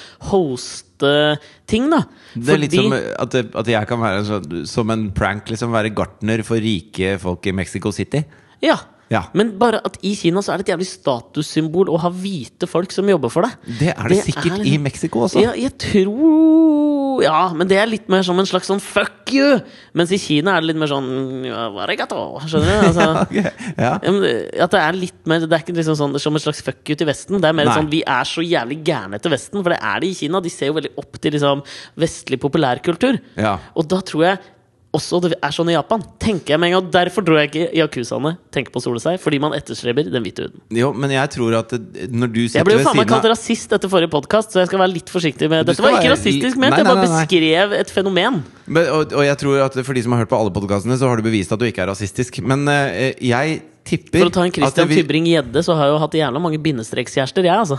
Speaker 2: hoste-ting, da.
Speaker 1: Det er litt som eh, at, at jeg kan være en sånn, som en prank, liksom. Være gartner for rike folk i Mexico City.
Speaker 2: ja.
Speaker 1: Ja.
Speaker 2: Men bare at i Kina så er det et jævlig statussymbol å ha hvite folk som jobber for deg.
Speaker 1: Det er det, sikkert
Speaker 2: er-
Speaker 1: i Mexico også.
Speaker 2: Ja, jeg tror Ja, men det er litt mer som en slags sånn fuck you! Mens i Kina er det litt mer sånn ja, arigato, Skjønner du? Altså,
Speaker 1: Ja, ok. ja.
Speaker 2: ja, men det- At det er litt mer Det er ikke liksom sånn, som en slags fuck you til Vesten. Det er mer
Speaker 1: Nei.
Speaker 2: sånn vi er så jævlig gærne til Vesten, for det er det i Kina. De ser jo veldig opp til liksom vestlig populærkultur.
Speaker 1: Ja.
Speaker 2: Og da tror jeg også det er sånn i Japan. Tenker jeg med en gang Og Derfor tror jeg ikke yakuzaene tenker på å sole seg, fordi man etterstreber den hvite huden.
Speaker 1: Jo, men jeg tror at det- når du
Speaker 2: Jeg
Speaker 1: sitter
Speaker 2: ble
Speaker 1: ved
Speaker 2: jo faen meg
Speaker 1: siden
Speaker 2: kalt
Speaker 1: av
Speaker 2: rasist etter forrige podkast, så jeg skal være litt forsiktig med
Speaker 1: Du
Speaker 2: Dette
Speaker 1: skal
Speaker 2: var ikke
Speaker 1: være-
Speaker 2: rasistisk ment,
Speaker 1: Nei,
Speaker 2: jeg
Speaker 1: nei, nei,
Speaker 2: bare
Speaker 1: nei.
Speaker 2: beskrev et fenomen.
Speaker 1: men, og, og jeg tror at for de som har hørt på alle podkastene, så har du bevist at du ikke er rasistisk. Men eh, jeg tipper
Speaker 2: For å ta en
Speaker 1: at det
Speaker 2: Christian
Speaker 1: vil-
Speaker 2: Tybring-Gjedde, så har jeg jo hatt jævla mange bindestrekskjærester, jeg, altså.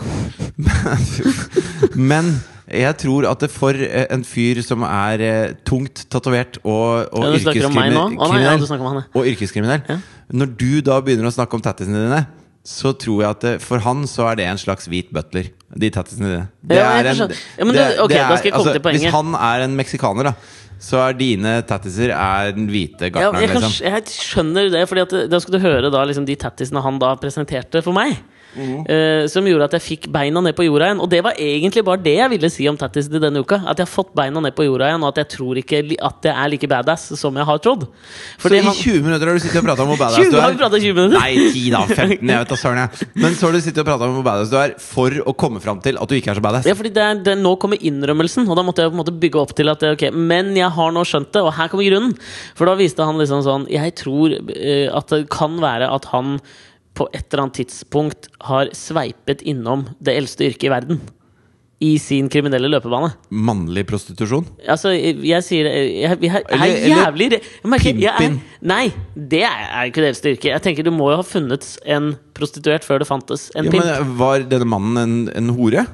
Speaker 1: Men jeg tror at det for eh, en fyr som er eh, tungt tatovert og, og
Speaker 2: Ja, du snakker om meg nå? Å, nei, ja, du snakker om han,
Speaker 1: yrkeskriminell, og yrkeskriminell Når du da begynner å snakke om tattisene dine, så tror jeg at det, for han så er det en slags hvit butler. De tattisene dine.
Speaker 2: jeg forstår. Ja, men du- ok, da skal jeg komme til poenget.
Speaker 1: altså, Hvis han er en meksikaner, da, så er dine tattiser er den hvite
Speaker 2: Ja,
Speaker 1: gartneren,
Speaker 2: jeg, kan,
Speaker 1: liksom.
Speaker 2: jeg skjønner det, Fordi at det- da skal du høre da, liksom, de tattisene han da presenterte for meg.
Speaker 1: Mm.
Speaker 2: eh, som gjorde at jeg fikk beina ned på jorda igjen. Og det var egentlig bare det jeg ville si om tattisene denne uka. At jeg har fått beina ned på jorda igjen, og at jeg tror ikke li- at jeg er like badass som jeg har trodd.
Speaker 1: Så
Speaker 2: Fordi
Speaker 1: i
Speaker 2: han,
Speaker 1: 20 minutter har du sittet og prata om hvor badass
Speaker 2: 20
Speaker 1: du
Speaker 2: har
Speaker 1: er.
Speaker 2: vi pratet i 20 minutter!
Speaker 1: Nei, 10 da, 15, jeg vet da søren jeg. Men så har du sittet og pratet om hvor badass du er for å komme fram til at du ikke er så badass.
Speaker 2: Ja, fordi det er, det, Nå kommer innrømmelsen, og da måtte jeg på en måte bygge opp til at ok, Men jeg har nå skjønt det, og her kommer grunnen. For da viste han liksom sånn Jeg tror eh, at det kan være at han på et eller annet tidspunkt har sveipet innom det eldste yrket i verden. I sin kriminelle løpebane.
Speaker 1: Mannlig prostitusjon?
Speaker 2: Altså, jeg, jeg sier det Jeg, jeg, jeg, er
Speaker 1: Eller- eller
Speaker 2: jævlig re- jeg merker, jeg er,
Speaker 1: pimpin.
Speaker 2: Nei, det er, er ikke det eldste yrket. Jeg tenker Du må jo ha funnet en prostituert før det fantes en
Speaker 1: Ja,
Speaker 2: pimp.
Speaker 1: men Var denne mannen en, en hore?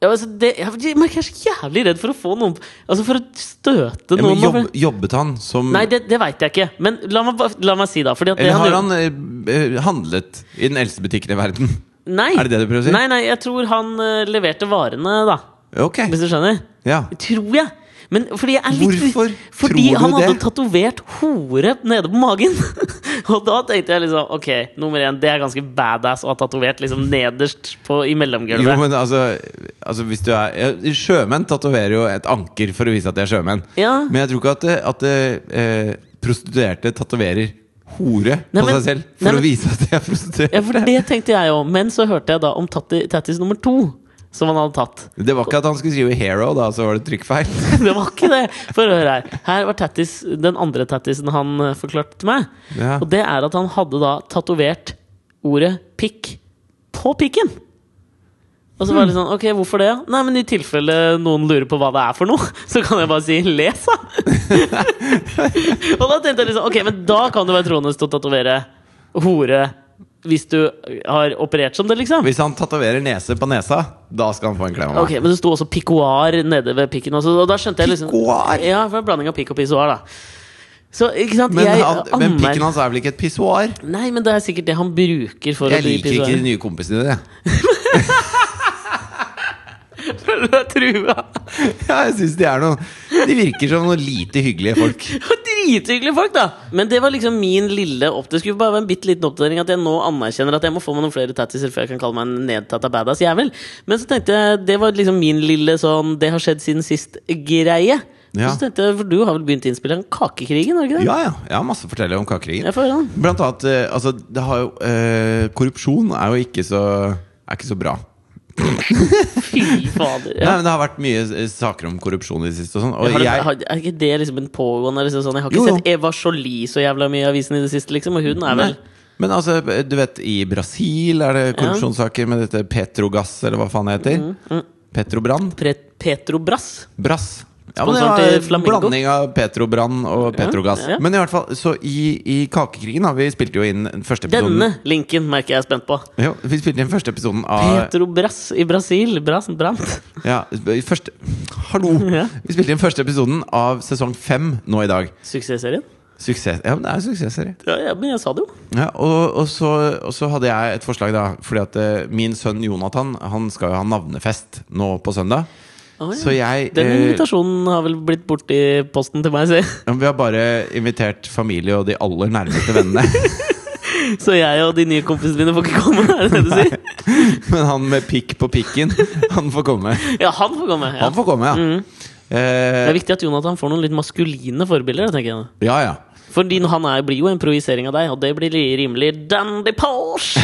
Speaker 2: Ja, altså det, jeg, jeg merker jeg er så jævlig redd for å få noen Altså for å støte
Speaker 1: Ja,
Speaker 2: noen.
Speaker 1: men
Speaker 2: nå,
Speaker 1: jobb,
Speaker 2: for-
Speaker 1: jobbet han som
Speaker 2: Nei, det, det veit jeg ikke. Men la meg, bare- la meg si, da. Fordi at det
Speaker 1: Eller har
Speaker 2: gjorde-
Speaker 1: han eh, eh, handlet i den eldste butikken i verden?
Speaker 2: Nei.
Speaker 1: Er det det du prøver å si?
Speaker 2: Nei, nei, jeg tror han eh, leverte varene, da.
Speaker 1: Ok.
Speaker 2: Hvis du skjønner?
Speaker 1: Ja.
Speaker 2: Tror jeg. Men fordi jeg er litt
Speaker 1: Hvorfor
Speaker 2: Fordi
Speaker 1: tror du
Speaker 2: han hadde
Speaker 1: det?
Speaker 2: tatovert hore nede på magen. og da tenkte jeg liksom Ok, nummer én, det er ganske badass å ha tatovert liksom nederst på, i mellomgulvet.
Speaker 1: Jo, men altså, altså hvis du er ja, Sjømenn tatoverer jo et anker for å vise at de er sjømenn.
Speaker 2: Ja.
Speaker 1: Men jeg tror ikke at, det- at det, eh, prostituerte tatoverer hore
Speaker 2: Nei,
Speaker 1: på
Speaker 2: men-
Speaker 1: seg selv for
Speaker 2: nei, men-
Speaker 1: å vise at de er prostituerte.
Speaker 2: Ja, for det tenkte jeg òg. Men så hørte jeg da om tatti- tattis nummer to, som han hadde tatt.
Speaker 1: Det var ikke at han skulle skrive 'hero', da, så var det trykkfeil.
Speaker 2: Det var ikke det! For hør her. Her var tattis, den andre tattisen han eh, forklarte til meg.
Speaker 1: Ja.
Speaker 2: Og det er at han hadde da tatovert ordet 'pikk' på pikken! Og så var
Speaker 1: Hmm.
Speaker 2: det sånn, ok, hvorfor det? Nei, men i tilfelle noen lurer på hva det er for noe, så kan jeg bare si 'les', da! og da tenkte jeg liksom, ok, men da kan du være tronest å tatovere hore hvis du har operert som det, liksom.
Speaker 1: Hvis han tatoverer nese på nesa, da skal han få en klem av meg.
Speaker 2: Ok, Men det sto også pikoar nede ved pikken. Også, og da skjønte jeg liksom
Speaker 1: Pikoar?
Speaker 2: Ja, for en blanding av pikk og pissoar, da. Så ikke sant,
Speaker 1: Men,
Speaker 2: jeg
Speaker 1: han, men pikken hans er vel ikke et pissoar?
Speaker 2: Nei, men det er sikkert det han bruker for
Speaker 1: Jeg
Speaker 2: å bli
Speaker 1: liker ikke de
Speaker 2: pissoar.
Speaker 1: nye kompisene dine.
Speaker 2: Føler du deg trua?
Speaker 1: Ja, jeg synes de er noe De virker som noen lite hyggelige folk.
Speaker 2: Drithyggelige folk, da! Men det var liksom min lille opp... Det skulle bare være en bitte liten oppdatering at jeg nå anerkjenner at jeg må få meg noen flere tattiser før jeg kan kalle meg en nedtatta badass jævel. Men så tenkte jeg det var liksom min lille sånn 'det har skjedd siden sist'-greie.
Speaker 1: Ja.
Speaker 2: Så tenkte jeg, For du har vel begynt innspillingen Kakekrigen, har du ikke det?
Speaker 1: Ja, ja. Jeg har masse å fortelle om kakekrigen.
Speaker 2: Jeg får høre den.
Speaker 1: Blant annet eh, altså, det har jo, eh, Korrupsjon er jo ikke så, er ikke så bra.
Speaker 2: Fy fader.
Speaker 1: Nei,
Speaker 2: Ja.
Speaker 1: men Det har vært mye eh, saker om korrupsjon i det siste. Og sånn, og
Speaker 2: Har du,
Speaker 1: jeg,
Speaker 2: har, er ikke det liksom en pågående liksom sånn? Jeg har ikke
Speaker 1: Jo, jo.
Speaker 2: sett Eva Jolie så jævla mye i avisen i det siste, liksom. Og hun er vel
Speaker 1: Nei. Men altså, du vet, i Brasil er det korrupsjonssaker med dette Petrogass, eller hva faen det heter.
Speaker 2: Mm,
Speaker 1: Petrobrann.
Speaker 2: Pre Petrobras.
Speaker 1: Brass. Ja, men det
Speaker 2: Sponsoren til
Speaker 1: var en
Speaker 2: Flamengo.
Speaker 1: blanding av Petrobrann og Petrogass.
Speaker 2: ja.
Speaker 1: Men i hvert fall, så i, i Kakekrigen har vi spilte jo inn den første episoden
Speaker 2: Denne linken merker jeg er spent på.
Speaker 1: Jo, vi spilte inn første episoden av
Speaker 2: Petrobras i Brasil. Brasen brant.
Speaker 1: ja, i første, Hallo!
Speaker 2: Ja.
Speaker 1: Vi spilte inn første episoden av sesong fem nå i dag.
Speaker 2: Suksessserien?
Speaker 1: Suksess. Ja, men det er en suksessserie.
Speaker 2: Ja, ja, men jeg sa det jo.
Speaker 1: Ja, og, og, så, og så hadde jeg et forslag, da. Fordi at eh, min sønn Jonathan Han skal jo ha navnefest nå på søndag.
Speaker 2: Å, ja.
Speaker 1: Så jeg
Speaker 2: Den
Speaker 1: eh,
Speaker 2: invitasjonen har vel blitt borti posten til meg, se.
Speaker 1: Vi har bare invitert familie og de aller nærmeste vennene.
Speaker 2: Så jeg og de nye kompisene mine får ikke komme, er det det du sier?
Speaker 1: Men han med pikk på pikken, han får komme.
Speaker 2: Ja, han får komme. Ja. Mm.
Speaker 1: Han får komme, ja.
Speaker 2: Det er
Speaker 1: Eh,
Speaker 2: viktig at Jonathan får noen litt maskuline forbilder, tenker jeg.
Speaker 1: ja, ja.
Speaker 2: Fordi han er, blir jo en projisering av deg, og det blir li- rimelig dandy Porsche!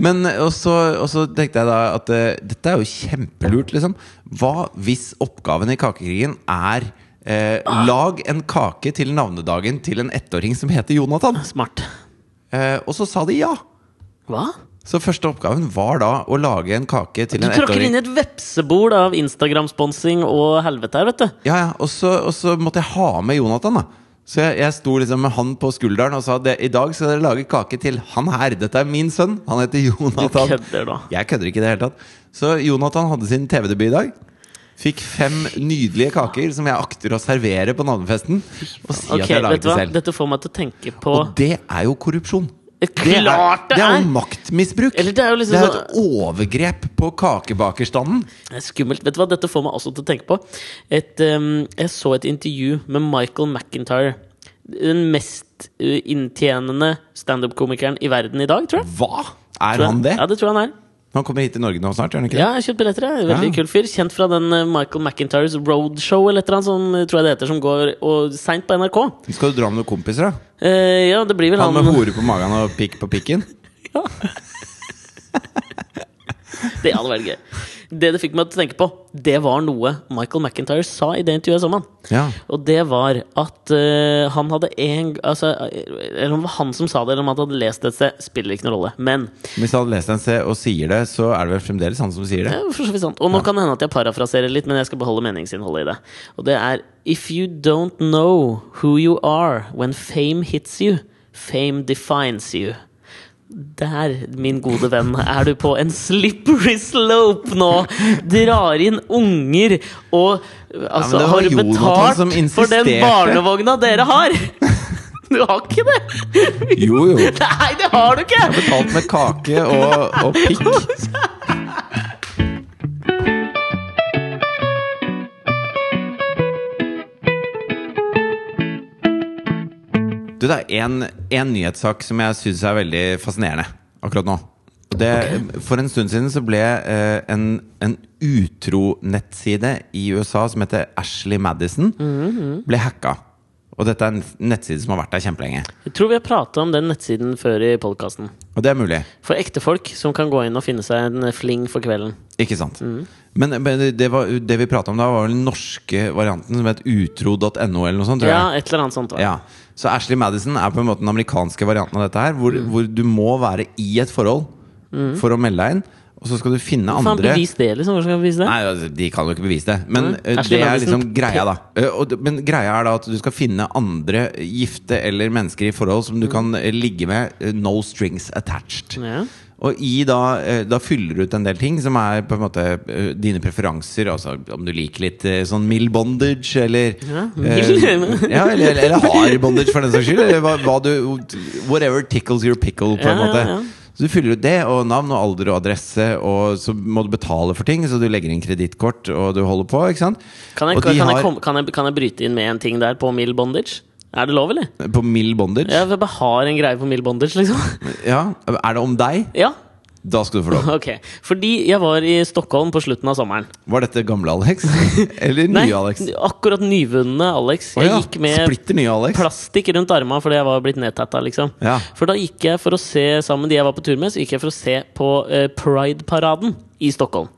Speaker 1: Men eh, og så, og så tenkte jeg da at eh, dette er jo kjempelurt, liksom. Hva hvis oppgaven i Kakekrigen er eh, lag en kake til navnedagen til en ettåring som heter Jonathan?
Speaker 2: Smart.
Speaker 1: Eh, og så sa de ja!
Speaker 2: Hva?
Speaker 1: Så første oppgaven var da å lage en kake til
Speaker 2: Du
Speaker 1: en
Speaker 2: tråkker
Speaker 1: ettåring.
Speaker 2: inn i et vepsebol av Instagram-sponsing og helvete her, vet du.
Speaker 1: Ja, ja, og så, og så måtte jeg ha med Jonathan, da. Så jeg, jeg sto liksom med han på skulderen og sa at i dag skal dere lage kake til han her. Dette er min sønn. Han heter
Speaker 2: Du
Speaker 1: Jonathan.
Speaker 2: kødder da.
Speaker 1: Jeg kødder ikke i det hele tatt. Så Jonathan hadde sin TV-debut i dag. Fikk fem nydelige kaker som jeg akter å servere på navnefesten. Og si
Speaker 2: Ok,
Speaker 1: at jeg
Speaker 2: vet
Speaker 1: laget
Speaker 2: du
Speaker 1: det
Speaker 2: hva?
Speaker 1: selv.
Speaker 2: Dette får meg til å tenke på
Speaker 1: Og det er jo korrupsjon. Det er,
Speaker 2: Klart
Speaker 1: det er jo maktmisbruk.
Speaker 2: Eller det er jo liksom
Speaker 1: Det er et overgrep på kakebakerstanden.
Speaker 2: Det er Skummelt. Vet du hva, dette får meg også til å tenke på. Et, ehm, jeg så et intervju med Michael McIntyre. Den mest eh, inntjenende standup-komikeren i verden i dag, tror jeg.
Speaker 1: Hva? Er
Speaker 2: Tror jeg-
Speaker 1: han det?
Speaker 2: Ja, det tror jeg han er.
Speaker 1: Han kommer hit til Norge nå snart, gjør han ikke det?
Speaker 2: Ja, jeg har kjøpt billetter. jeg. Veldig
Speaker 1: Ja.
Speaker 2: kul fyr. Kjent fra den eh, Michael McIntyres Roadshow, eller et eller annet sånn, eh, tror jeg det heter, som går og seint på NRK.
Speaker 1: Skal du dra med noen kompiser, da?
Speaker 2: Eh, ja, det blir vel
Speaker 1: Han
Speaker 2: han,
Speaker 1: med hore på magen og pikk på pikken?
Speaker 2: Det hadde vært gøy. Det det fikk meg til å tenke på, det var noe Michael McIntyre sa i det intervjuet sammen.
Speaker 1: Ja.
Speaker 2: Og det var at eh, han hadde en altså, Eller om det var han som sa det, eller om han hadde lest det et sted, spiller ikke noen rolle. Men
Speaker 1: Hvis han hadde lest en C og sier det, så er det vel fremdeles han som sier det?
Speaker 2: det er for så vidt sant. Og nå kan det hende at jeg parafraserer litt, men jeg skal beholde meningsinnholdet i det. Og det er If you don't know who you are when fame hits you, fame defines you. Der, min gode venn, er du på en slippery slope nå! Drar inn unger og
Speaker 1: det
Speaker 2: Altså,
Speaker 1: var
Speaker 2: har du
Speaker 1: Jonathan som
Speaker 2: betalt for den
Speaker 1: insisterte.
Speaker 2: barnevogna dere har? Du har ikke det!
Speaker 1: Jo, jo.
Speaker 2: Nei, det har du ikke!
Speaker 1: Betalt med kake og, og pikk. Du, det er en, en nyhetssak som jeg syns er veldig fascinerende akkurat nå. Og Det, For en stund siden så ble eh, en, en utro-nettside i USA som heter Ashley Madison, ble hacka. Og dette er en nettside som har vært der kjempelenge.
Speaker 2: Jeg tror vi har prata om den nettsiden før i podkasten.
Speaker 1: Og det er mulig.
Speaker 2: For ektefolk som kan gå inn og finne seg en eh, fling for kvelden.
Speaker 1: Ikke sant. Men, men det- det, var, det vi prata om da, var vel den norske varianten som het utro.no eller noe sånt. Tror
Speaker 2: Ja,
Speaker 1: jeg.
Speaker 2: et eller annet sånt. da.
Speaker 1: Ja. Så Ashley Madison er på en måte den amerikanske varianten av dette her, hvor, hvor du må være i et forhold for å melde deg inn. Og så skal Mm. du finne
Speaker 2: Faen,
Speaker 1: andre
Speaker 2: bevis det, liksom. Hvor skal vi bevise det?
Speaker 1: Nei, altså, De kan jo ikke bevise det. Men
Speaker 2: Mm.
Speaker 1: eh,
Speaker 2: Ashley
Speaker 1: det er
Speaker 2: Madison.
Speaker 1: liksom greia, da. Eh, og, det- men greia er da at du skal finne andre gifte eller mennesker i forhold som du kan eh, ligge med. eh, No strings attached.
Speaker 2: Mm. Ja.
Speaker 1: Og i da, eh, da fyller du ut en del ting som er på en måte eh, dine preferanser. Altså om du liker litt eh, sånn mild bondage, eller
Speaker 2: Ja,
Speaker 1: eh,
Speaker 2: mild.
Speaker 1: ja, eller, eller, eller hard bondage, for den saks skyld. Eller hva, hva du Whatever tickles your pickle, på en
Speaker 2: Ja, ja,
Speaker 1: måte.
Speaker 2: ja.
Speaker 1: Så du fyller ut det, og navn og alder og adresse, og så må du betale for ting. Så du legger inn kredittkort, og du holder på, ikke sant?
Speaker 2: Kan jeg,
Speaker 1: og de
Speaker 2: kan, jeg,
Speaker 1: har-
Speaker 2: komme- kan, jeg, kan jeg bryte inn med en ting der på mild bondage? Er det lov, eller?
Speaker 1: På mild bondage?
Speaker 2: Jeg bare har en greie på mild bondage, liksom.
Speaker 1: Ja. Er det om deg?
Speaker 2: Ja,
Speaker 1: Da skal du få lov.
Speaker 2: ok. Fordi jeg var i Stockholm på slutten av sommeren.
Speaker 1: Var dette gamle Alex? Eller nye Alex?
Speaker 2: akkurat nyvunne Alex.
Speaker 1: Å
Speaker 2: Jeg
Speaker 1: ja,
Speaker 2: gikk med
Speaker 1: Splitter nye Alex.
Speaker 2: plastikk rundt armene fordi jeg var blitt nedtatta, liksom.
Speaker 1: Ja.
Speaker 2: For da gikk jeg for å se sammen med de jeg var på tur med, så gikk jeg for å se på eh, Pride-paraden i Stockholm.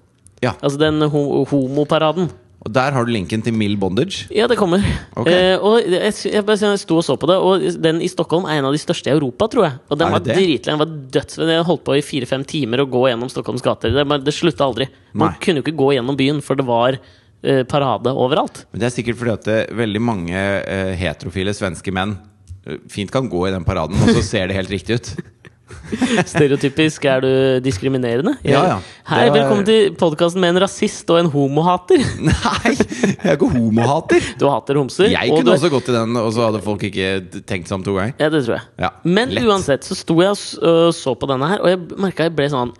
Speaker 1: Ja.
Speaker 2: Altså den ho homoparaden.
Speaker 1: Og der har du linken til mild bondage.
Speaker 2: Ja, det kommer.
Speaker 1: Ok.
Speaker 2: Eh, og jeg, sy- jeg, bare- jeg sto og så på det, og den i Stockholm er en av de største i Europa, tror jeg. Og den
Speaker 1: Er
Speaker 2: var
Speaker 1: det det?
Speaker 2: dritlang. Den var dødsvenn. Jeg holdt på i fire-fem timer å gå gjennom Stockholms gater. Det, bare- det slutta aldri. Man
Speaker 1: Nei.
Speaker 2: kunne jo ikke gå gjennom byen, for det var eh, parade overalt.
Speaker 1: Men det er sikkert fordi at det, veldig mange eh, heterofile svenske menn eh, fint kan gå i den paraden, og så ser det helt riktig ut.
Speaker 2: Stereotypisk er du diskriminerende.
Speaker 1: Ja, ja.
Speaker 2: Hei,
Speaker 1: Det var-
Speaker 2: velkommen til podkasten med en rasist og en homohater.
Speaker 1: Nei! Jeg er ikke homohater!
Speaker 2: Du hater homser.
Speaker 1: Jeg
Speaker 2: og
Speaker 1: kunne
Speaker 2: du...
Speaker 1: også gått i den, og så hadde folk ikke tenkt seg om to ganger.
Speaker 2: Ja, det tror jeg.
Speaker 1: Ja,
Speaker 2: Men
Speaker 1: lett.
Speaker 2: uansett så sto jeg og s- og så på denne her, og jeg merka jeg ble sånn